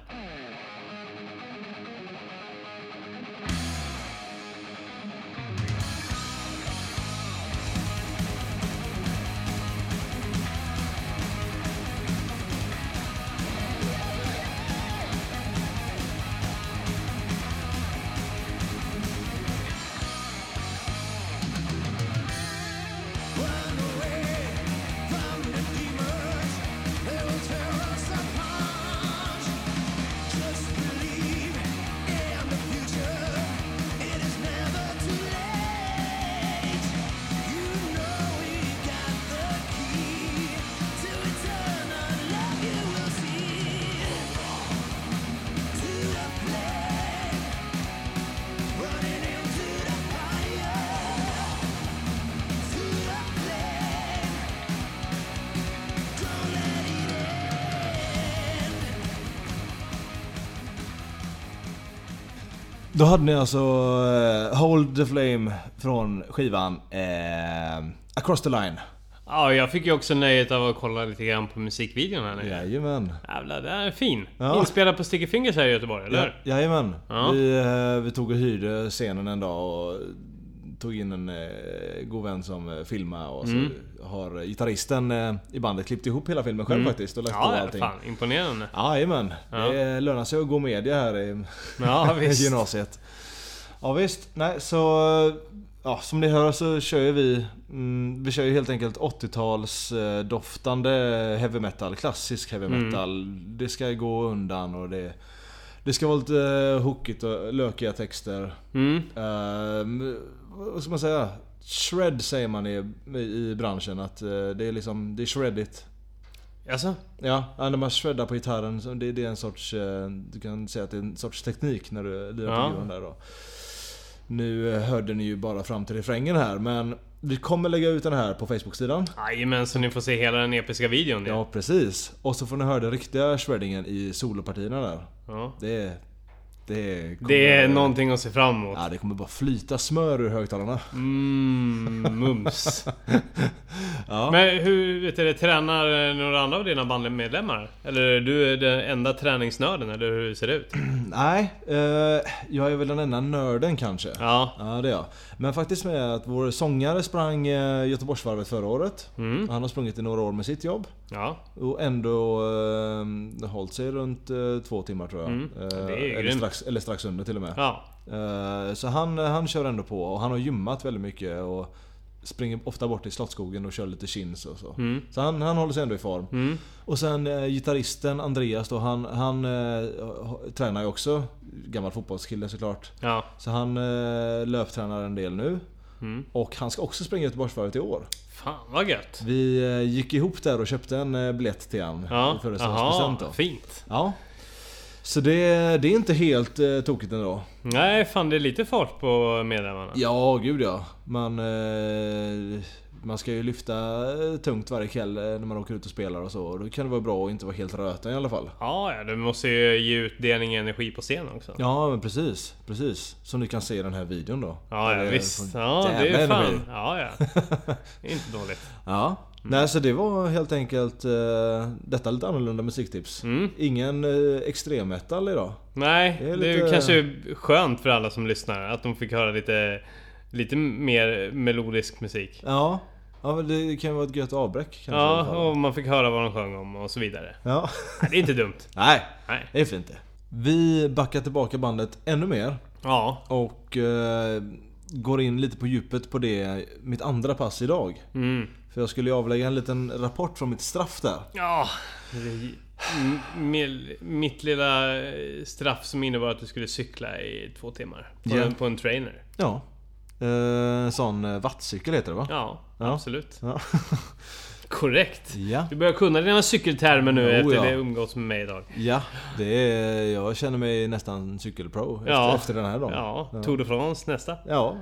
Då hade ni alltså eh, Hold the Flame från skivan eh, Across the Line. Ja, jag fick ju också nöjet av att kolla lite grann på musikvideon här nu. Jajamän. Jävlar, den är fin! Ja. Inspelad på Sticky Fingers här i Göteborg, eller Ja, hur? jajamän. Ja. Vi, eh, vi tog och hyrde scenen en dag och tog in en eh, god vän som eh, filmade och Mm. så har gitarristen eh, i bandet klippt ihop hela filmen själv faktiskt och lagt på Mm. Ja, allting. fan imponerande. Jajamän. Ja. Det lönar sig att gå media här i Ja, visst. gymnasiet. Ja visst. Nej så... eh, Ja, som ni hör så kör ju vi... Mm, vi kör ju helt enkelt 80-tals eh, doftande heavy metal. Klassisk heavy Mm. metal. Det ska gå undan och det... Det ska vara lite eh, hookigt och lökiga texter. Mm. Ehm, vad ska man säga? Shred säger man i, i, i branschen att eh, det är liksom... Det är shreddigt. Alltså? Ja, ja, när man shreddar på gitarren, så det, det är en sorts... eh, Du kan säga att det är en sorts teknik när du lirar Ja. på gitarren där då. Nu eh, hörde ni ju bara fram till refrängen här men vi kommer lägga ut den här på Facebook-sidan. Jajamän, så ni får se hela den episka videon. Ja, precis. Och så får ni höra den riktiga shreddingen i solopartierna där. ja. Det... Det, kommer, Det är någonting att se fram emot. Ja, det kommer bara flyta smör ur högtalarna. Mm, mums. Ja. Men hur vet du, det, tränar några andra av dina bandmedlemmar? Eller du är den enda träningsnörden, eller hur ser det ut? Nej, eh, jag är väl den enda nörden kanske. Ja. Ja, det är jag. Men faktiskt med att vår sångare sprang eh, Göteborgsvarvet förra året. Mm. Han har sprungit i några år med sitt jobb. Ja. Och ändå eh, hållit sig runt eh, två timmar tror jag. Mm. Eh, Det är eller, grymt. strax, eller strax under till och med. Ja. Eh, så han, han kör ändå på och han har gymmat väldigt mycket. Och springer ofta bort i Slottsskogen och kör lite chins och så. Mm. Så han, han håller sig ändå i form. Mm. Och sen eh, gitarristen Andreas då, han, han eh, tränar ju också. Gammal fotbollskille såklart. Ja. Så han eh, löptränar en del nu. Mm. Och han ska också springa Göteborgsvarvet i år. Fan vad gött. Vi eh, gick ihop där och köpte en eh, biljett till han Ja. i födelsedagspresent Jaha, då. fint. Ja. Så det, det är inte helt eh, tokigt ändå. Nej, fan det är lite fart på medlemmarna. Ja, gud ja. Man, eh, Man ska ju lyfta eh, tungt varje kväll eh, när man åker ut och spelar och så. Och då kan det vara bra att inte vara helt röten i alla fall. Ja, ja, du måste ju ge utdelning i energi på scen också. Ja men precis, precis. Som ni kan se i den här videon då. Ja, Det ja är visst. sån Ja, det jävla är energi. fan. Ja, ja. Det är inte dåligt. Ja. Mm. Nej, så det var helt enkelt eh, detta lite annorlunda musiktips. Mm. Ingen eh, extremmetal idag. Nej, Det det är är, lite- kanske skönt för alla som lyssnar att de fick höra lite, lite mer melodisk musik. Ja. Ja men det kan ju vara ett gött avbräck kanske. i alla fall. Ja, och man fick höra vad de sjöng om och så vidare. ja. Nej, det är inte dumt. Nej, Nej. det är fint det. Vi backar tillbaka bandet ännu mer Ja. och eh, går in lite på djupet på det mitt andra pass idag. Mm. För jag skulle ju avlägga en liten rapport från mitt straff där. Ja. det- m- mil- Mitt lilla eh, straff som innebar att du skulle cykla i två timmar. På, Ja. en, på en trainer. Ja. Eh, sån eh, wattcykel heter det va? Ja, Ja. absolut. Ja. Korrekt. ja. Du börjar kunna dina cykeltermer nu Jo, efter ja. det umgås med mig idag. Ja, det är, jag känner mig nästan cykelpro efter, Ja. efter den här dagen. Ja, Ja, Tour de France nästa. ja,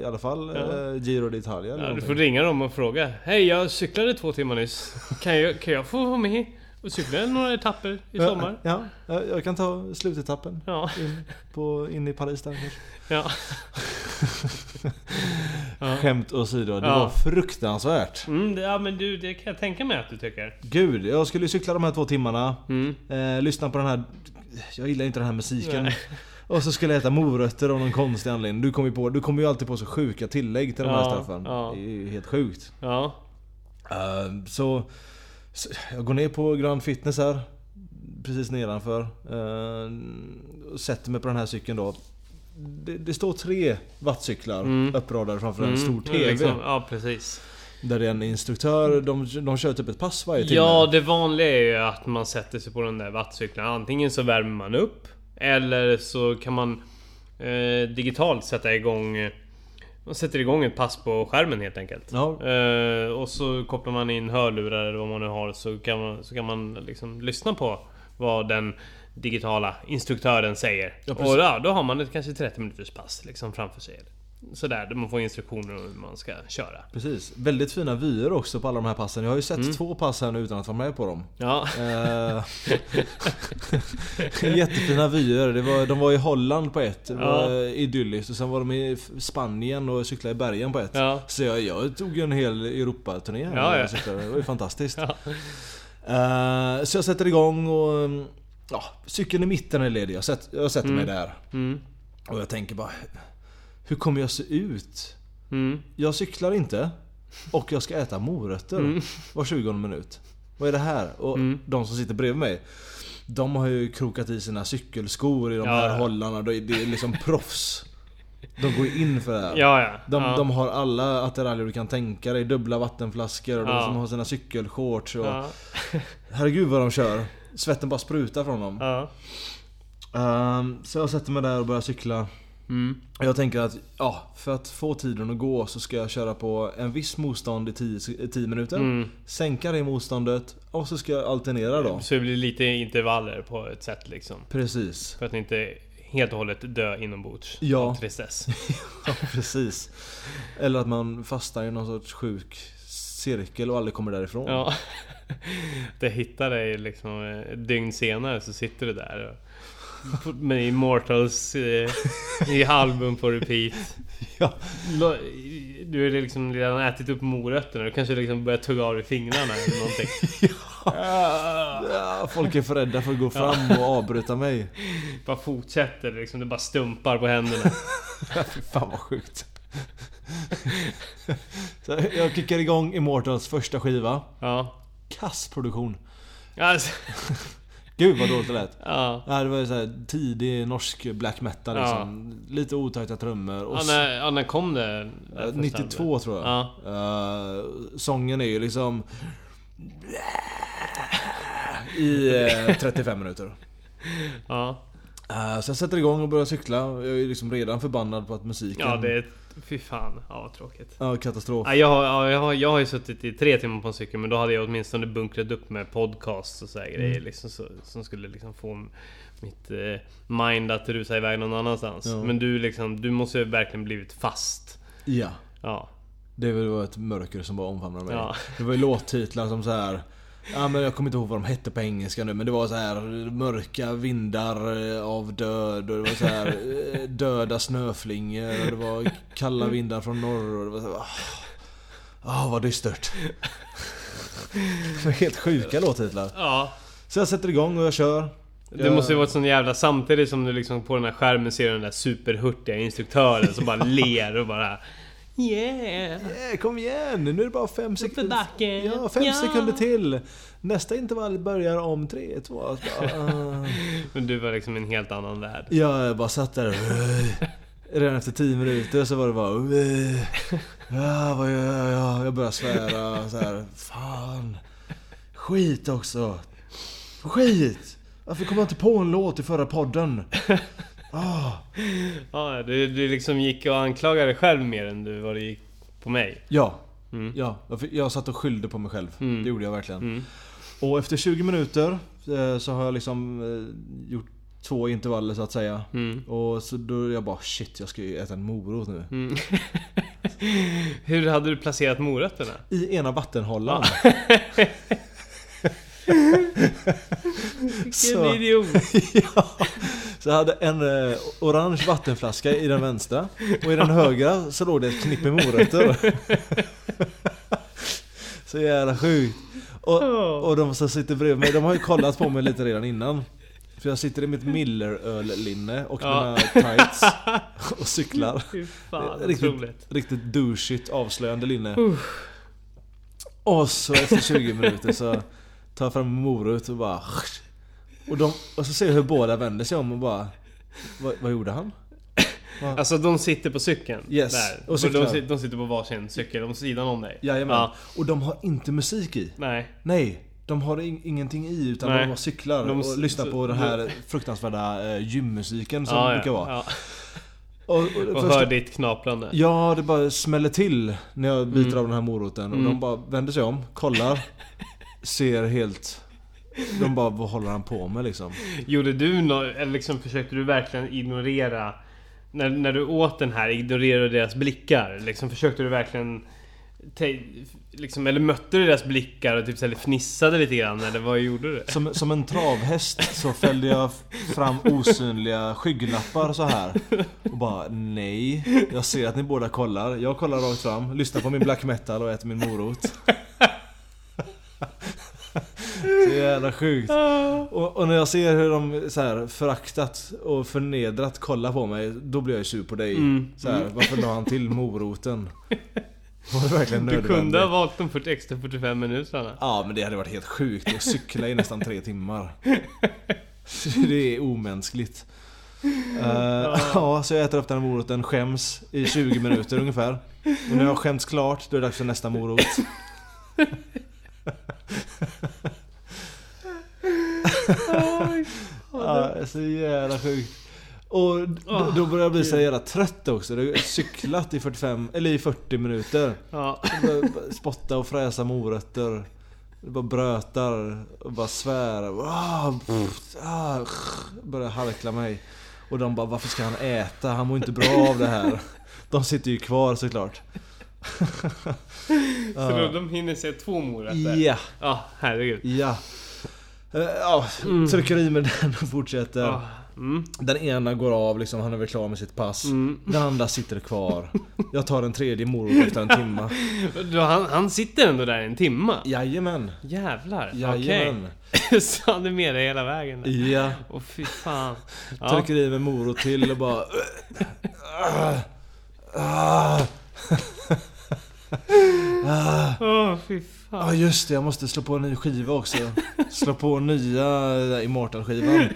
i alla fall Ja. eh, Giro d'Italia eller Ja, du någonting. får ringa dem och fråga. Hej, jag cyklade två timmar nyss. Kan jag, kan jag få vara med och cykla några etapper i sommar? Ja, ja, jag kan ta slutetappen. Ja, In, på, in i Paris där kanske. ja. Skämt åsido, det Ja. var fruktansvärt. Mm, det- ja men du, det kan jag tänka mig att du tycker. Gud, jag skulle ju cykla de här två timmarna. Mm. Eh, lyssna på den här... Jag gillar inte den här musiken. Nej. Och så skulle jag äta morötter av någon konstig anledning. Du kommer ju, på, du kommer ju alltid på så sjuka tillägg till de här Ja, straffen. ja. Det är ju helt sjukt. Ja. Eh, så, så jag går ner på Grand Fitness här. Precis nedanför. Eh, och sätter mig på den här cykeln då. Det, det står tre wattcyklar Mm. uppradade framför en stor Mm, TV. liksom, ja, precis. Där det är en instruktör. De, de kör typ ett pass varje timme. Ja, det vanliga är ju att man sätter sig på den där wattcykeln. Antingen så värmer man upp. Eller så kan man eh, digitalt sätta igång... Man sätter igång ett pass på skärmen helt enkelt. Ja, Eh, och så kopplar man in hörlurar eller vad man nu har så kan man, så kan man liksom lyssna på vad den digitala instruktören säger. Ja, precis. och ja, då har man ett kanske 30 minuters pass liksom framför sig. Sådär, där man får instruktioner om hur man ska köra. precis. Väldigt fina vyer också på alla de här passen. Jag har ju sett Mm. två pass här nu utan att vara med på dem. Ja, Eh, Jättefina vyer. Det var, de var i Holland på ett. Det var eh, idylliskt. Och sen var de i F- Spanien och cyklade i bergen på ett. Ja. Så jag, jag tog ju en hel Europaturné här. Ja, när jag ja. cyklade. Det var ju fantastiskt. Ja. Eh, så jag sätter igång och... mm, Ja, cykeln i mitten är ledig. Jag, sätt, jag sätter mig där. mm, Och jag tänker bara... Hur kommer jag se ut? mm. Jag cyklar inte och jag ska äta morötter Mm. var 20 minut. Vad är det här? Och de som sitter bredvid mig. De har ju krokat i sina cykelskor i de Ja, här ja. hållarna. Det är det är liksom proffs. De går ju in för det här. ja, ja. De, ja. de har alla attiraljer du kan tänka dig. Dubbla vattenflaskor och de Ja. som har sina cykelshorts. Och, ja, Herregud vad de kör. Svetten bara sprutar från dem. ja. Ehm, så jag sätter mig där och börjar cykla. Mm. Jag tänker att ja, för att få tiden att gå så ska jag köra på en viss motstånd i 10 minuter. Mm. Sänka det motståndet och så ska jag alternera då. Så det blir lite intervaller på ett sätt liksom. Precis. För att inte helt och hållet dö inombords Ja. av tristess. Ja, precis. Eller att man fastnar i någon sorts sjuk cirkel och aldrig kommer därifrån. Ja. Det hittar dig liksom eh, ett dygn senare så sitter du där och med Immortals eh, i album på repeat. Ja. Lo- Du har liksom redan ätit upp morötterna. Du kanske liksom börjar tugga av dig fingrarna eller någonting. Ah. Ja, Folk är för rädda för att gå fram och avbryta mig. Bara fortsätter liksom. Det bara stumpar på händerna. Fy fan vad sjukt. Så jag kickar igång Immortals första skiva. Ja. Kass produktion. Alltså, Gud vad dåligt det lät. ja. Ja, det var ju så här tidig norsk black metal Ja. liksom. Lite otajta trummor. Och Ja, när, ja, när kom det? s- 92 tror jag. Ja. Eh, sången är ju liksom... I eh, 35 minuter. Ja. Eh, så jag sätter igång och börjar cykla. Jag är liksom redan förbannad på att musiken... Ja, det är... Fy fan. Ja, vad tråkigt. Ja, katastrof. Ja, jag, har, ja, jag, har, jag har ju suttit i tre timmar på en cykel men då hade jag åtminstone bunkrat upp med podcasts och så här Mm. grejer liksom, så, som skulle liksom få m- mitt eh, mind att rusa iväg någon annanstans. Ja. Men du liksom, du måste ju verkligen blivit fast. Ja. Ja. Det var ett mörker som bara omfamnade mig. Ja. Det var ju låttitlar som så här. Ja, men jag kommer inte ihåg vad de hette på engelska nu men det var så här mörka vindar eh, av död och det var så här eh, döda snöflingor och det var kalla vindar från norr och det var så här, ah, ah, vad dystert. Det var Helt sjuka låttitlar. Ja. Så jag sätter igång och jag kör. Det Jag- måste ju varit sån jävla... Samtidigt som du liksom på den här skärmen ser den där superhurtiga instruktören som bara ler och bara... Yeah! Yeah, Eh, kom igen! Nu är det bara fem för sekunder backen. Ja, fem Ja. sekunder till. Nästa intervall börjar om tre, två... alltså bara, ah. Men du var liksom i en helt annan värld. Jag bara satt där och... Redan efter tio minuter så var det bara... Ja, vad gör jag? Jag började svära så här. Fan. Skit också. Skit! Varför kom jag inte på en låt i förra podden? Ah. Ja, du, du liksom gick och anklagade dig själv mer än du vad du gick på mig. Ja. Mm. ja. Jag, fick- jag satt och skyllde på mig själv. Mm. Det gjorde jag verkligen. Mm. Och efter 20 minuter eh, så har jag liksom eh, gjort två intervaller så att säga. Mm. Och så då är jag bara shit, jag ska ju äta en morot nu. Mm. Hur hade du placerat morötterna? I ena vattenhållan. Vilken så, idiot! ja, så jag hade en eh, orange vattenflaska i den vänstra och i den högra så låg det ett knippe morötter. så jävla sjukt. Och, och de som sitter bredvid mig, de har ju kollat på mig lite redan innan. För jag sitter i mitt Miller-öllinne och Ja. mina tights och cyklar. Fy fan, otroligt. Riktigt, riktigt douchigt avslöjande linne. Och så efter 20 minuter så tar jag fram en morot och bara... Och, de, och så ser jag hur båda vänder sig om och bara... Vad, vad gjorde han? Alltså de sitter på cykeln. Yes, Där. och Och cyklar. de, sit- de sitter på varsin cykel, om sidan om dig. Jajamän. Ja, Och de har inte musik i. nej. Nej, de har in, ingenting i utan Nej. de bara cyklar De s- och lyssnar på den här fruktansvärda eh, gymmusiken som det brukar vara. Ja. Och, Och första- hör ditt knaprande. Ja, det bara smäller till när jag biter av den här moroten. Och de bara vänder sig om, kollar, ser helt... De bara, vad håller han på med liksom? Gjorde du nå eller liksom försökte du verkligen ignorera... När, när du åt den här, ignorerade deras blickar? Liksom försökte du verkligen... te- Liksom, eller mötte du deras blickar och typ så här fnissade lite grann? Eller vad gjorde du? Som, som en travhäst så fällde jag fram osynliga skygglappar så här Och bara, nej. Jag ser att ni båda kollar. Jag kollar rakt fram, lyssnar på min black metal och äter min morot. Så jävla sjukt. Och, och när jag ser hur de så här föraktat och förnedrat kollar på mig, då blir jag ju sur på dig. Mm. Så här, varför la han till moroten? Var det verkligen Du nödvändigt? kunde ha valt de 40 extra 45 minuterna. Ja men det hade varit helt sjukt att cykla i nästan tre timmar. Så Det är omänskligt. Eh, ja, så jag äter upp den här moroten, skäms i 20 minuter ungefär. Och när jag har skämts klart, då är det dags för nästa morot. Ja, så jävla sjukt. Och då, då börjar jag bli så jävla trött också. Jag har cyklat i 45, eller i 40 minuter. Ja. Bara- bara Spotta och fräsa morötter. Bara brötar och bara svär. Ah, pff, ah, Börjar harkla mig. Och de bara, varför ska han äta? Han mår inte bra av det här. De sitter ju kvar såklart. Så då, de hinner se två morötter? Ja, Ja, herregud. ja. Eh, Ja, trycker i med den och fortsätter. Mm. Ja. Mm. Den ena går av, liksom, han är väl klar med sitt pass. Den andra sitter kvar. Jag tar en tredje morot efter en timma. Då, han, han sitter ändå där en timma? Jajamän. Jävlar, okej. Jajamän. Så han är med dig hela vägen där. Ja. Åh fy fan. Ja. Trycker i med morot till och bara... Åh fy fan. Ja just det, jag måste slå på en ny skiva också. Slå på nya eh, Immortal-skivan.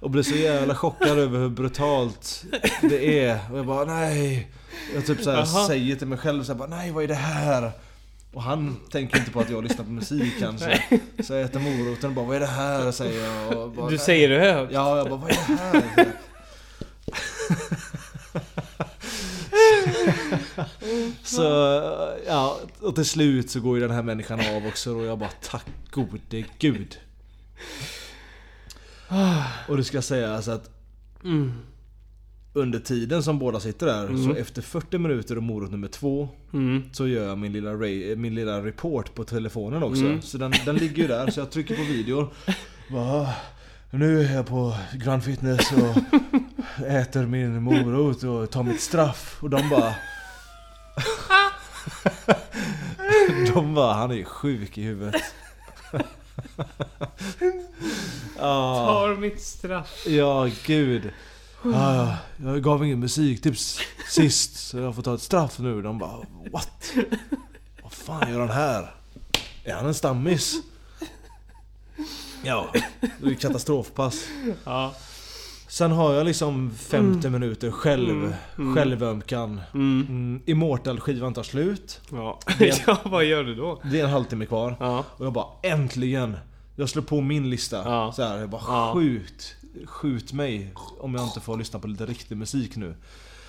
Och blir så jävla chockad över hur brutalt det är. Och jag bara nej. Jag typ så här Jaha. säger till mig själv så här, bara, nej vad är det här? Och han tänker inte på att jag lyssnar på musik kanske. Så jag äter moroten och bara vad är det här? Säger jag. Och bara, Du "Nej." säger det högt? Ja, jag bara vad är det här? så ja, och till slut så går ju den här människan av också och jag bara tack gode gud. Mm. Och du ska säga alltså att under tiden som båda sitter där, så efter 40 minuter och morot nummer två Mm. så gör jag min lilla, ray, eh, min lilla report på telefonen också. Så den, den ligger ju där, så jag trycker på videor. Bara, "Ah, nu är jag på Grand Fitness och äter min morot och tar mitt straff. Och de bara... de bara, han är sjuk i huvudet. ah. Tar mitt straff. Ja, gud. Ah, jag gav ingen musiktips sist, så jag får ta ett straff nu. De bara what? Vad fan gör han här? Är han en stammis? Ja, det är ju katastrofpass. Ja. Sen har jag liksom 50 minuter själv, självömkan. Mm, Immortal-skivan tar slut. Ja. ja, vad gör du då? Det är en halvtimme kvar. Ja. Och jag bara äntligen! Jag slår på min lista. Ja. Så här, jag bara Ja. skjut. Skjut mig om jag inte får lyssna på lite riktig musik nu.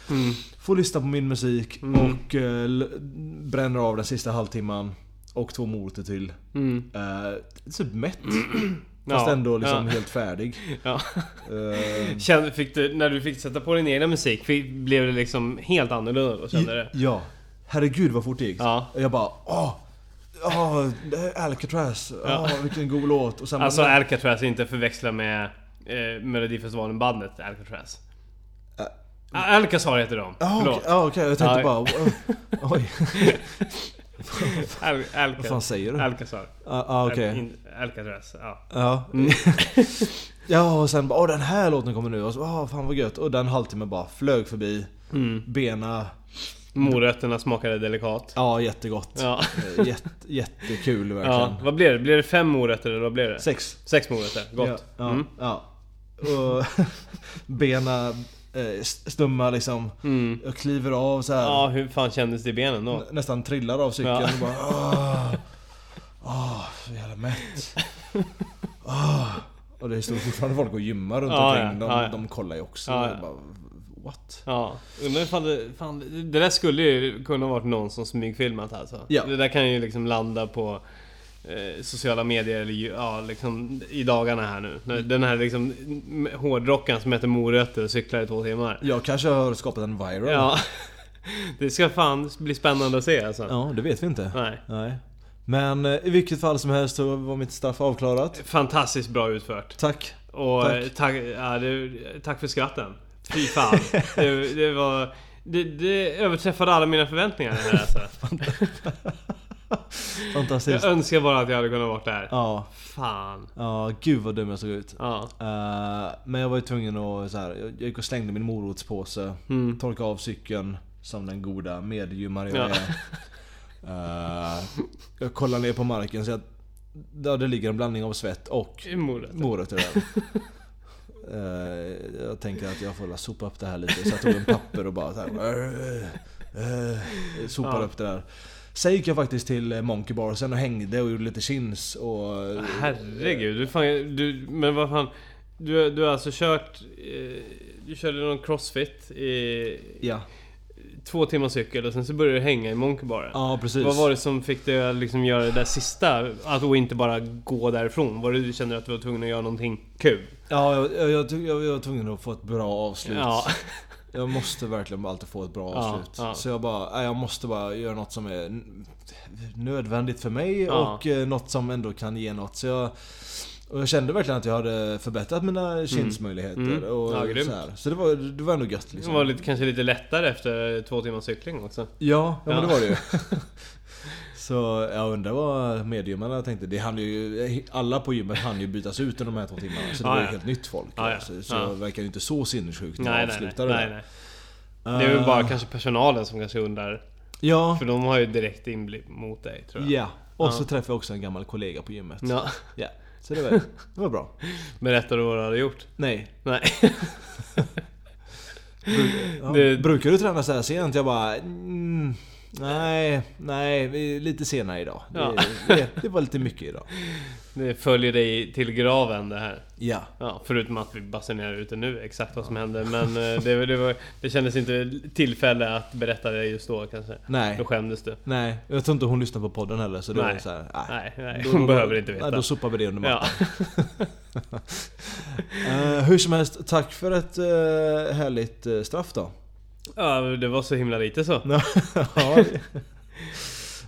Mm. Får lyssna på min musik och eh, l- bränner av den sista halvtimman. Och två morötter till. Mm. Eh, typ mätt. Ja. Fast ändå liksom Ja. helt färdig. Ja. Eh, Kände, fick du, när du fick sätta på din egna musik, fick, blev det liksom helt annorlunda då? Kände du? Ja. Herregud vad fort det gick. Ja. Och Jag bara åh! åh, det här är Alcatraz. Ja. Åh, vilken god låt. Och sen Alltså bara, Alcatraz inte förväxla med eh, Melodifestivalen bandet Alcatraz. Ä- Ah, Alcazar heter de. Ja okej, Förlåt. ja, okej. jag tänkte Ja. bara... "Oj, Oj, Al- vad Alca- fan säger du? Ja, Alcazar. ah, okej. Al- in- Alcatraz. Ja. Ja. Mm. ja, och sen bara "Åh, den här låten kommer nu. Och så "Åh, fan vad gött. Och den halvtimmen bara flög förbi. Mm. Bena... Morötterna smakade delikat. Ja, jättegott. Ja. Eh, Jätte, jättekul verkligen. ja. Vad blev det? Blev det fem morötter eller vad blev det? Sex. Sex morötter. Gott. Ja, ja, Mm. ja. Och bena eh, st- stumma liksom. Mm. Jag kliver av så här. Ja, hur fan kändes det i benen då? Nästan trillar av cykeln Ja. och bara Åh, åh så jävla mätt. Åh. Och det står fortfarande folk och gymmar runt Ja, omkring. ja, De, ja, ja. de kollar ju också. Ja, ja. Bara, What? Ja, undrar ifall det, fan, det där skulle ju kunna varit någon som smygfilmat alltså. Ja. Det där kan ju liksom landa på eh, sociala medier eller ju- ja, liksom i dagarna här nu. Mm. När Den här liksom m- hårdrockaren som äter morötter och cyklar i två timmar. Jag kanske har skapat en viral. Ja. Det ska fan bli spännande att se alltså. Ja, det vet vi inte. Nej. Nej. Men eh, i vilket fall som helst så var mitt straff avklarat. Fantastiskt bra utfört. Tack. Och Tack. tack, tack, ja, det, tack för skratten. Fy fan. det, det var... Det, det överträffade alla mina förväntningar det här alltså. Jag Fantastiskt. önskar bara att jag hade kunnat vara där. Ja, Fan. ja, gud vad dum jag såg ut. Ja. Eh, men jag var ju tvungen att så här, jag, jag gick och slängde min morotspåse. Mm. Torka av cykeln som den goda medgymmare jag Ja. är. Eh, jag kollar ner på marken så att där det ligger en blandning av svett och Mordet. morötter där. Eh, jag tänker att jag får la sopa upp det här lite. Så jag tog en papper och bara så här, eh, eh, sopade Ja. upp det där. Sen gick jag faktiskt till eh, Monkey Bar sen och hängde och gjorde lite chins och... eh, Herregud. Du fan, du, men vad fan. Du, du har alltså kört... Eh, du körde någon crossfit i Ja, två timmar cykel och sen så började du hänga i monkeybaren. ja precis. Vad var det som fick dig att liksom göra det där sista? Att och inte bara gå därifrån? Var det du kände att du var tvungen att göra någonting kul? Ja, jag, jag, jag, tyck- jag, jag var tvungen att få ett bra avslut. Ja. Jag måste verkligen alltid få ett bra Ja, avslut. ja. Så jag bara, nej, jag måste bara göra något som är n- nödvändigt för mig Ja. och eh, något som ändå kan ge något. Så jag, och jag kände verkligen att jag hade förbättrat mina chinsmöjligheter. Mm. Och Ja, grymt. så här. så det, var, det var ändå gött Det liksom. var lite, kanske lite lättare efter två timmars cykling också. Ja, ja, men Ja. det var det ju. Så jag undrar vad mediumarna tänkte. Det hann ju, alla på gymmet hann ju bytas ut under de här två timmarna. Så det Ja, var ju Ah, ja. helt nytt folk. Ja, ja. Så, så Ja. jag verkar ju inte så sinnessjukt när jag Nej, nej, nej. avslutade nej, det. nej. Det är väl Eh, bara kanske personalen som kanske undrar. Ja, För de har ju direkt inblick mot dig tror jag. ja. Och så träffade jag också en gammal kollega på gymmet. Ja. Ja. Så det var, det var bra. Berättar du vad du hade gjort? Nej. Nej. Ja. Det- Brukar du träna så här sent? Jag bara... Mm, nej, nej. vi- Lite senare idag. Ja. Det, det, det var lite mycket idag. Det följer dig till graven det här. Ja. Ja, förutom att vi basunerar ut det nu exakt vad som hände. Men eh, det, det, var, det kändes inte tillfälle att berätta det just då kanske. Nej. Då skämdes du. Nej. Jag tror inte hon lyssnar på podden heller så då Nej. är det så här, nej. Nej, nej. Hon behöver inte Nej, veta. då sopar vi det under mattan. Ja. Eh, hur som helst, tack för ett eh, härligt eh, straff då. ja, det var så himla lite så. ja,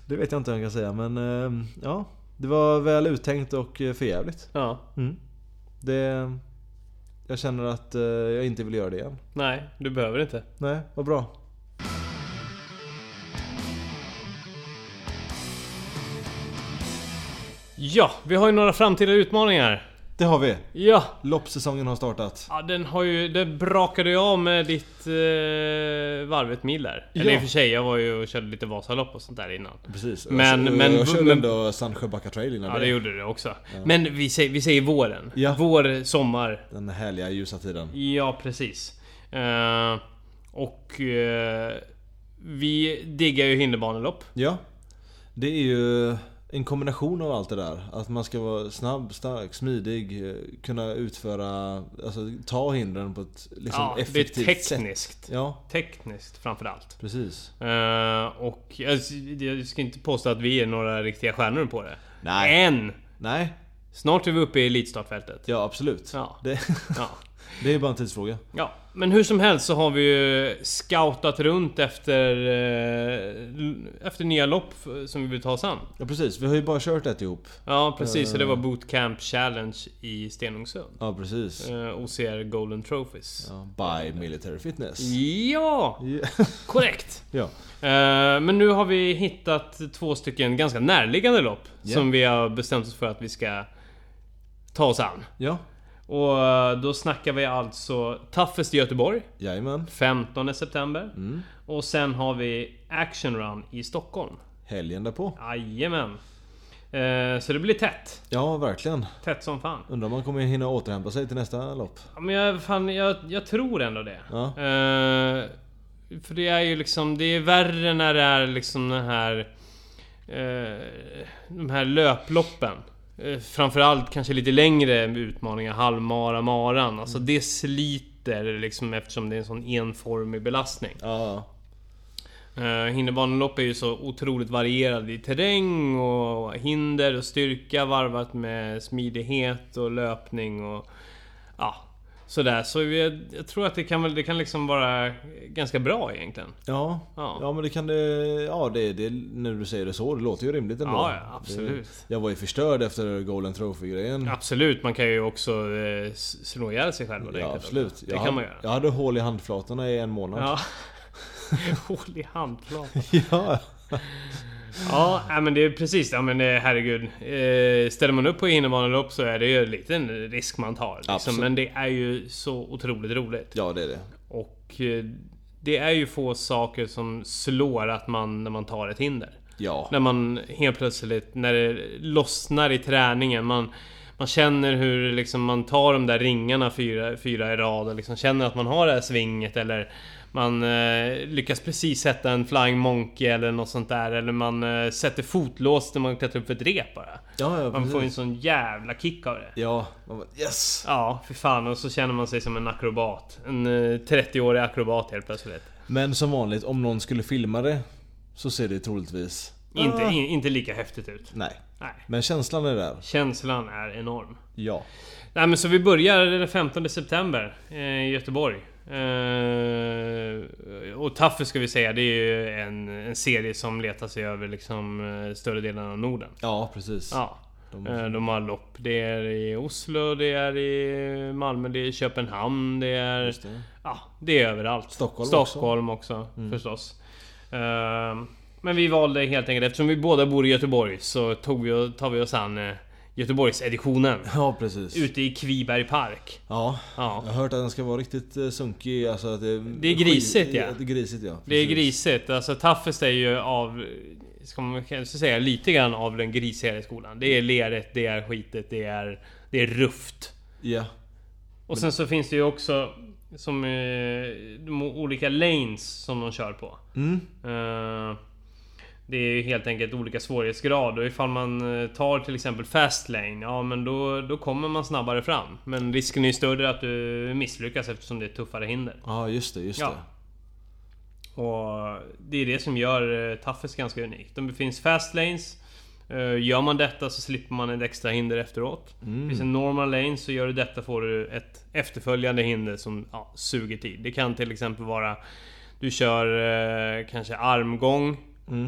det vet jag inte hur jag kan säga men eh, ja. Det var väl uttänkt och eh, förjävligt. Ja. Mm. Det... Jag känner att eh, jag inte vill göra det igen. Nej, du behöver inte. Nej, vad bra. Ja, vi har ju några framtida utmaningar. Det har vi. Ja, Loppsäsongen har startat. ja den har ju... Den brakade ju av med ditt eh, varvet mil där. Ja. Eller i och för sig, jag var ju och körde lite Vasalopp och sånt där innan. Precis. Men- men- jag körde men- ändå Sandsjöbacka trail innan Ja, det det. gjorde du också. Men vi säger, vi säger våren. Ja. Vår, sommar. Den härliga ljusa tiden. Ja, precis. Eh, och... eh, vi diggar ju hinderbanelopp. Ja. Det är ju en kombination av allt det där. Att man ska vara snabb, stark, smidig, eh, kunna utföra, alltså ta hindren på ett liksom ja, det är effektivt sätt. tekniskt. Ja, Tekniskt framförallt. precis. Eh, och jag, jag ska inte påstå att vi är några riktiga stjärnor på det. Nej. Än! Nej, Snart är vi uppe i elitstartfältet. ja absolut. Ja. Det, Ja. det är bara en tidsfråga. ja. Men hur som helst så har vi ju scoutat runt efter, eh, efter nya lopp som vi vill ta oss an. Eh. Ja precis, vi har ju bara kört ett ihop. Ja precis, så det var Bootcamp Challenge i Stenungsund. Ja precis. Eh, OCR Golden Trophies. Ja, by Military Fitness. Ja! Ja. Korrekt! ja. Eh, Men nu har vi hittat två stycken ganska närliggande lopp Ja. som vi har bestämt oss för att vi ska ta oss an. Ja. Och eh, då snackar vi alltså Toughest i Göteborg, Jajamän. 15 september. Och sen har vi Action Run i Stockholm. Helgen därpå. Jajamän! Eh, Så det blir tätt. Ja, verkligen. Tätt som fan. Undrar om man kommer hinna återhämta sig till nästa lopp. Ja, Men jag, fan, jag, jag tror ändå det. Ja. Eh, för det är ju liksom, det är värre när det är liksom den här... eh, de här löploppen. Uh, framförallt kanske lite längre utmaningar, halvmara, maran. Alltså det sliter liksom eftersom det är en sån enformig belastning. Ja, Uh, hinderbanelopp är ju så otroligt varierad i terräng och hinder och styrka varvat med smidighet och löpning och ja, sådär. Så vi, jag tror att det kan, väl, det kan liksom vara ganska bra egentligen. ja. Ja. ja men det kan det... Ja, det, det, nu du säger det så. Det låter ju rimligt ändå. Ja, ja, absolut. Det, jag var ju förstörd efter Golden Trophy-grejen. Absolut, man kan ju också eh, s- slå ihjäl sig själv. ordentligt. Ja, absolut. jag, Det kan hade- man göra. Jag hade hål i handflatorna i en månad. Ja. Hål i handflatan. ja. Ja, nej, men det är precis. Ja, men eh, herregud. Eh, ställer man upp på innebandylopp så är det ju en liten risk man tar. Liksom. Absolut. Men det är ju så otroligt roligt. ja, det är det. Och eh, det är ju få saker som slår att man när man tar ett hinder. Ja. När man helt plötsligt, när det lossnar i träningen. Man, man känner hur liksom man tar de där ringarna fyra, fyra i rad och liksom känner att man har det här svinget eller man eh, lyckas precis sätta en flying monkey eller något sånt där. Eller man eh, sätter fotlås när man klättrar upp för ett rep bara. Ja, ja, Man precis. får ju en sån jävla kick av det. Ja, man bara, yes! Ja, för fan. Och så känner man sig som en akrobat. En eh, 30-årig akrobat helt plötsligt. Men som vanligt, om någon skulle filma det så ser det troligtvis... Inte, in, inte lika häftigt ut. Nej. Nej. Men känslan är där. Känslan är enorm. Ja. Nej men så vi börjar den 15 september eh, i Göteborg. Eh, och Taffe ska vi säga, det är ju en, en serie som letar sig över liksom eh, större delen av Norden. Ja, precis. Ja. De- Eh, De har lopp. Det är i Oslo, det är i Malmö, det är i Köpenhamn, det är... Just det. Ja, det är överallt. Stockholm Mm. Stockholm också, förstås. Ehm, men vi valde helt enkelt, eftersom vi båda bor i Göteborg så tog vi, tar vi oss an eh, Göteborgseditionen. Ja, precis. Ute i Kviberg park. Ja. Ja. Jag har hört att den ska vara riktigt eh, sunkig. Alltså att det, Det är grisigt, ja. Det är grisigt ja. Det är precis. grisigt. Alltså Taffest är ju av... Ska man kanske säga lite grann av den grisigare skolan. Det är leret, det är skitet, det är... Det är rufft. Ja. Och sen så finns det ju också... Som... eh, De olika lanes som de kör på. Mm. Eh, Det är ju helt enkelt olika svårighetsgrad och ifall man eh, tar till exempel fast lane, ja men då, då kommer man snabbare fram. Men risken är ju större att du misslyckas eftersom det är tuffare hinder. Ja, just det, just Ja. det. Och det är det som gör eh, Toughest ganska unikt. De finns fast lanes. Eh, Gör man detta så slipper man ett extra hinder efteråt. Mm. Finns en normal lane så gör du detta får du ett efterföljande hinder som ja, suger tid. Det kan till exempel vara du kör eh, kanske armgång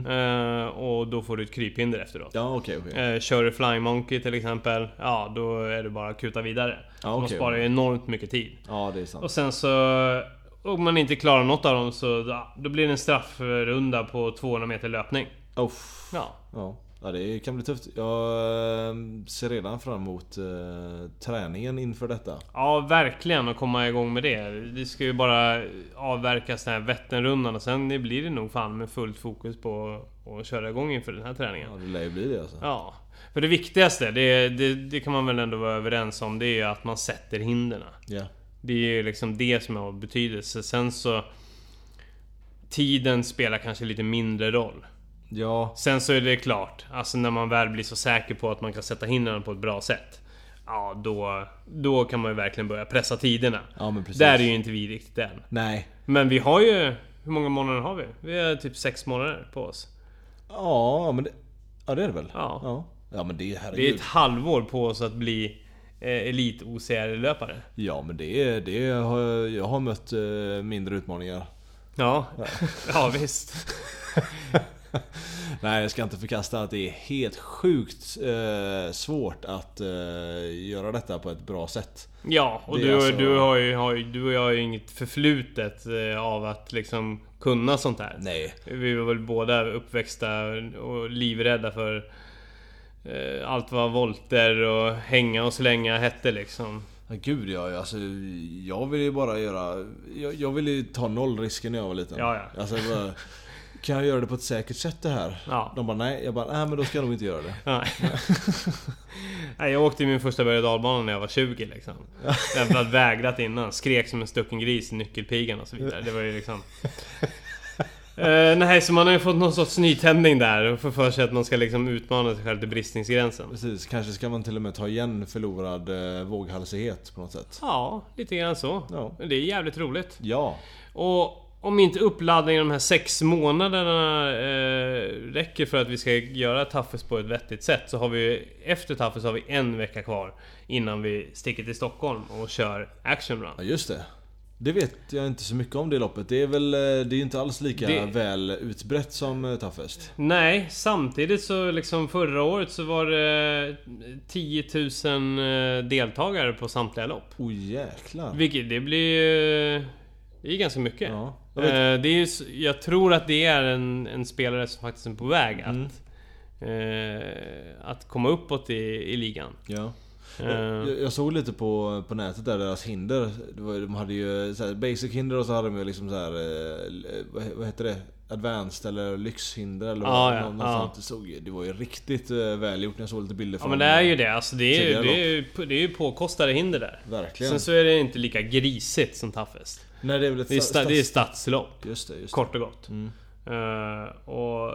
eh, och då får du ett kryphinder efteråt. Mm. Ja, okej, okej. Eh, kör du Flying Monkey till exempel, ja då är det bara att kuta vidare. Ja, Man okej. sparar ju enormt mycket tid. Ja, det är sant. Och sen så... Om man inte klarar något av dem så ja, då blir det en straffrunda på 200 meter löpning. Uff. Ja. Ja. ja, det kan bli tufft. Jag eh, ser redan fram emot eh, träningen inför detta. Ja, verkligen att komma igång med det. Vi ska ju bara avverka den här Vätternrundan och sen blir det nog fan med fullt fokus på att köra igång inför den här träningen. Ja, det lär ju bli det alltså. Ja. För det viktigaste, det, det, det kan man väl ändå vara överens om, det är ju att man sätter hinderna. Ja. Det är ju liksom det som har betydelse. Sen så... Tiden spelar kanske lite mindre roll. Ja, Sen så är det klart, alltså när man väl blir så säker på att man kan sätta hindren på ett bra sätt. Ja, då, då kan man ju verkligen börja pressa tiderna. ja men precis. Där är ju inte vi riktigt än. Nej. Men vi har ju... Hur många månader har vi? Vi har typ sex månader på oss. Ja, men det, ja, det är det väl? Ja. Ja, ja men det är herregud. Det är ett halvår på oss att bli eh, elit-OCR-löpare. Ja, men det, är- det har jag, jag har mött eh, mindre utmaningar. Ja. ja, visst. Nej, jag ska inte förkasta att det är helt sjukt eh, svårt att eh, göra detta på ett bra sätt. Ja, och Det du, är alltså- du, har ju, har ju, du och jag har ju inget förflutet eh, av att liksom kunna sånt här. Nej. Vi var väl båda uppväxta och livrädda för eh, allt vad volter och hänga och slänga hette liksom. Ja, Gud ja, alltså, jag ville ju bara göra... Jag, jag ville ju ta noll risker när jag var liten. Ja, ja. Alltså, jag bara, kan jag göra det på ett säkert sätt det här? Ja. De bara nej, jag bara nej men då ska jag nog inte göra det. Nej. Nej, jag åkte min första berg och dalbana när jag var 20 liksom. Jag hade vägrat innan. Skrek som en stucken gris i nyckelpigan och så vidare. Det var ju liksom... Eh, nej, så man har ju fått någon sorts nytändning där och får för sig att man ska liksom utmana sig själv till bristningsgränsen. Precis, kanske ska man till och med ta igen förlorad eh, våghalsighet på något sätt. Ja, lite grann så. Ja. Men Det är jävligt roligt. Ja. Och om inte uppladdningen de här sex månaderna eh, räcker för att vi ska göra Taffes på ett vettigt sätt så har vi ju- efter Taffes har vi en vecka kvar innan vi sticker till Stockholm och kör Action Run. Ja just det. Det vet jag inte så mycket om det loppet. Det är väl eh, det är inte alls lika Det- väl utbrett som eh, Toughest. Nej, samtidigt så liksom förra året så var det 10 000 eh, deltagare på samtliga lopp. Oh jäklar. Vilket det blir ju... Det är ganska mycket. Ja, jag vet. jag, det är, ju s- jag tror att det är en, en spelare som faktiskt är på väg att... eh, att komma uppåt i, i ligan. Ja. Eh, Jag, jag såg lite på, på nätet där deras hinder. Det var, de hade ju så här, basic hinder och så hade de ju liksom så här, eh, vad, vad heter det? Advanced eller lyxhinder eller Ja, vad ja, nå- något ja. sånt. Det, såg, ju- det var ju riktigt eh, välgjort när jag såg lite bilder ja från men det är ju det. Alltså, det, är ju, tidigare det, är ju, det är ju påkostade hinder där. Verkligen. Sen så är det inte lika grisigt som Toughest. Nej det är väl ett Det är, sta, det är stats- stadslopp. Just det, just det. Kort och gott. Eh, och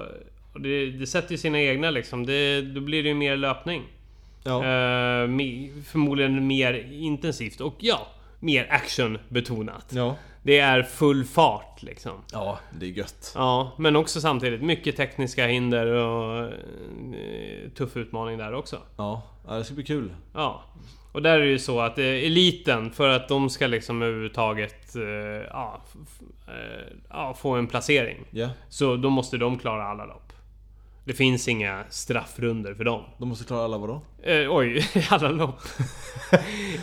och det, det sätter ju sina egna liksom. Det, då blir det ju mer löpning. Ja. Eh, me- förmodligen mer intensivt och ja, mer actionbetonat. ja. Det är full fart liksom. Ja, det är gött. Ja, men också samtidigt mycket tekniska hinder och eh, tuff utmaning där också. Ja, ja det ska bli kul. Ja. Och där är det ju så att eh, eliten, för att de ska liksom överhuvudtaget eh, ja, f- f- eh, ja, få en placering. Ja. Så då måste de klara alla lopp. Det finns inga straffrunder för dem. De måste klara alla vadå? Eh, oj, alla lopp.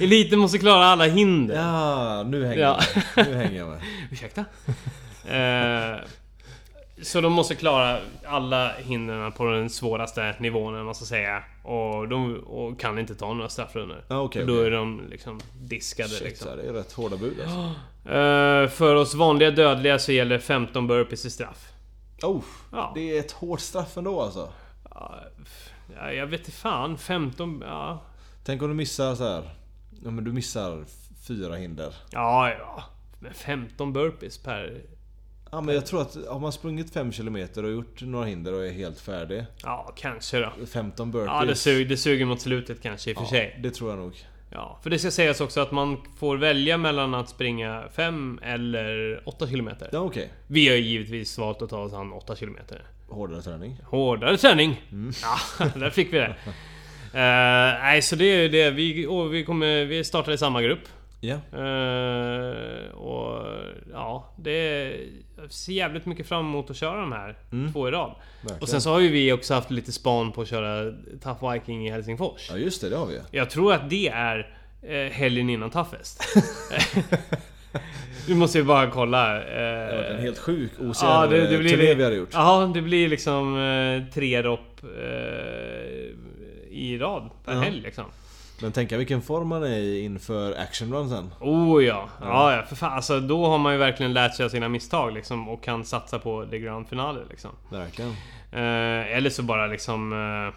Eliten måste klara alla hinder. Ja, nu hänger Ja. jag med. Nu hänger jag med. Ursäkta? Eh, så de måste klara alla hindren på den svåraste nivån, eller vad man ska säga. Och de och kan inte ta några straffrundor. Ja, okej, För då okej. är de liksom diskade. Shit, liksom. så här, det är rätt hårda bud alltså. Eh, för oss vanliga dödliga så gäller 15 burpees i straff. Oh, Ja. Det är ett hårt straff ändå alltså. Ja, f- ja, jag vet inte fan, 15... Ja, Tänk om du missar så här. Ja, men du missar f- fyra hinder. ja. ja. Men 15 burpees per Ja, men jag tror att har man sprungit 5 km och gjort några hinder och är helt färdig. Ja, kanske då. 15 burpees. Ja, det, sug, det suger mot slutet kanske i och för Ja, sig. Det tror jag nog. Ja, för det ska sägas också att man får välja mellan att springa 5 eller 8 km. Ja, okej. Vi har ju givetvis valt att ta oss an 8 km. Hårdare träning. Hårdare träning! Mm. Ja, där fick vi det. Eh, nej, så det är ju det. Vi, och vi, kommer, vi startar i samma grupp. Ja. Eh, och ja, det är, jag ser jävligt mycket fram emot att köra de här två i rad. Mm. Verkligen. Och sen så har ju vi också haft lite span på att köra Tough Viking i Helsingfors. Ja, just det. Det har vi ju. Jag tror att det är eh, helgen innan Toughest. Nu måste vi bara kolla. Det har varit en Eh, helt sjuk ja, ocean det, det turné blir... vi hade gjort. Ja, det blir liksom eh, tre dopp eh, i rad per Ja. helg liksom. Men tänka vilken form man är i inför action run sen. Oh ja. ja, ja för fan. Alltså, då har man ju verkligen lärt sig av sina misstag liksom, och kan satsa på det grand finale. Liksom. Verkligen. Eh, eller så bara liksom eh,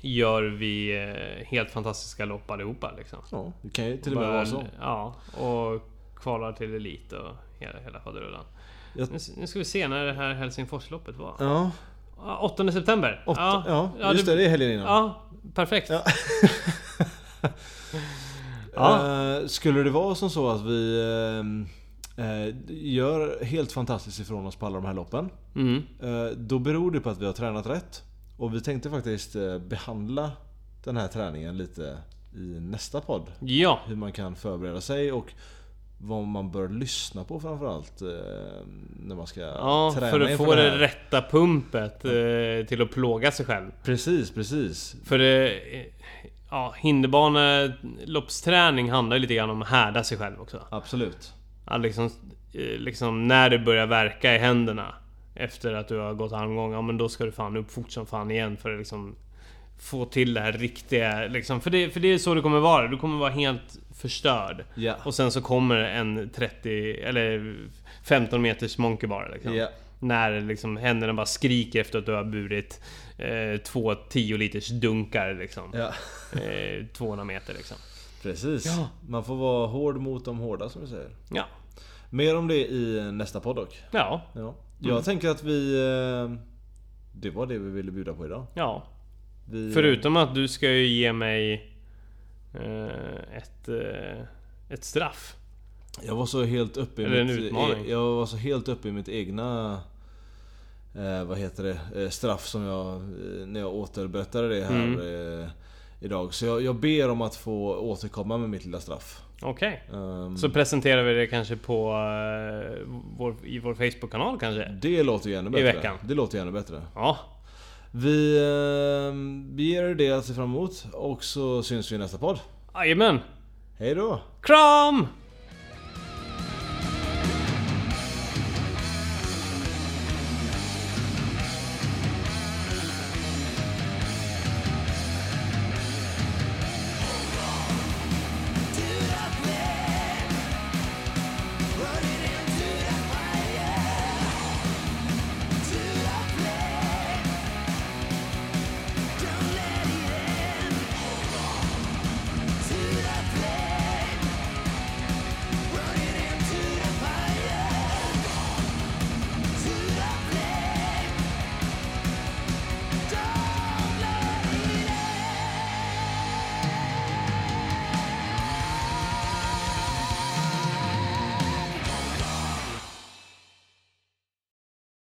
gör vi eh, helt fantastiska lopp allihopa. Liksom. Ja, det kan ju till och med vara så. Ja, och kvalar till Elit och hela, hela faderullan. Jag- Nu, s- nu ska vi se när det här Helsingforsloppet var. Ja, Ja, 8 september. åtta, ja, just det. du- Det är helgen innan. Ja, perfekt. Ja. Eh, skulle det vara som så att vi eh, eh, gör helt fantastiskt ifrån oss på alla de här loppen. Mm. Eh, då beror det på att vi har tränat rätt. Och vi tänkte faktiskt eh, behandla den här träningen lite i nästa podd. ja. Hur man kan förbereda sig och vad man bör lyssna på framförallt eh, när man ska Ja, träna för att inför få det det här. rätta pumpet eh, till att plåga sig själv. Precis, precis. För det... eh, Ja, hinderbaneloppsträning handlar ju lite grann om att härda sig själv också. Absolut. Att liksom, eh, liksom när det börjar verka i händerna efter att du har gått halvgång, ja men då ska du fan upp fort som fan igen för att liksom få till det här riktiga liksom. För det, för det är så det kommer vara. Du kommer vara helt förstörd. Ja. Och sen så kommer en 30 eller 15 meters monkey bar liksom. Ja. När liksom händerna bara skriker efter att du har burit eh, två 10 liters dunkar liksom. Ja. Eh, 200 meter liksom. Precis. Ja. Man får vara hård mot de hårda som vi säger. Ja. Mer om det i nästa podd dock. Ja. Mm. Ja. Jag tänker att vi... eh, Det var det vi ville bjuda på idag. Ja. Vi, Förutom att du ska ju ge mig eh, ett, eh, ett straff. Jag var så helt uppe i Eller en mitt, utmaning. e- Jag var så helt uppe i mitt egna... Eh, vad heter det? Eh, straff som jag... Eh, när jag återberättade det här Mm. eh, idag. Så jag, jag ber om att få återkomma med mitt lilla straff. Okej. Ehm, Så presenterar vi det kanske på eh, vår, i vår Facebook-kanal kanske? det låter ju ännu bättre. veckan. Det låter ju ännu bättre. Ja. Vi, eh, vi ger det att se fram emot och så syns vi i nästa podd. Jajamän! Hej då! Kram!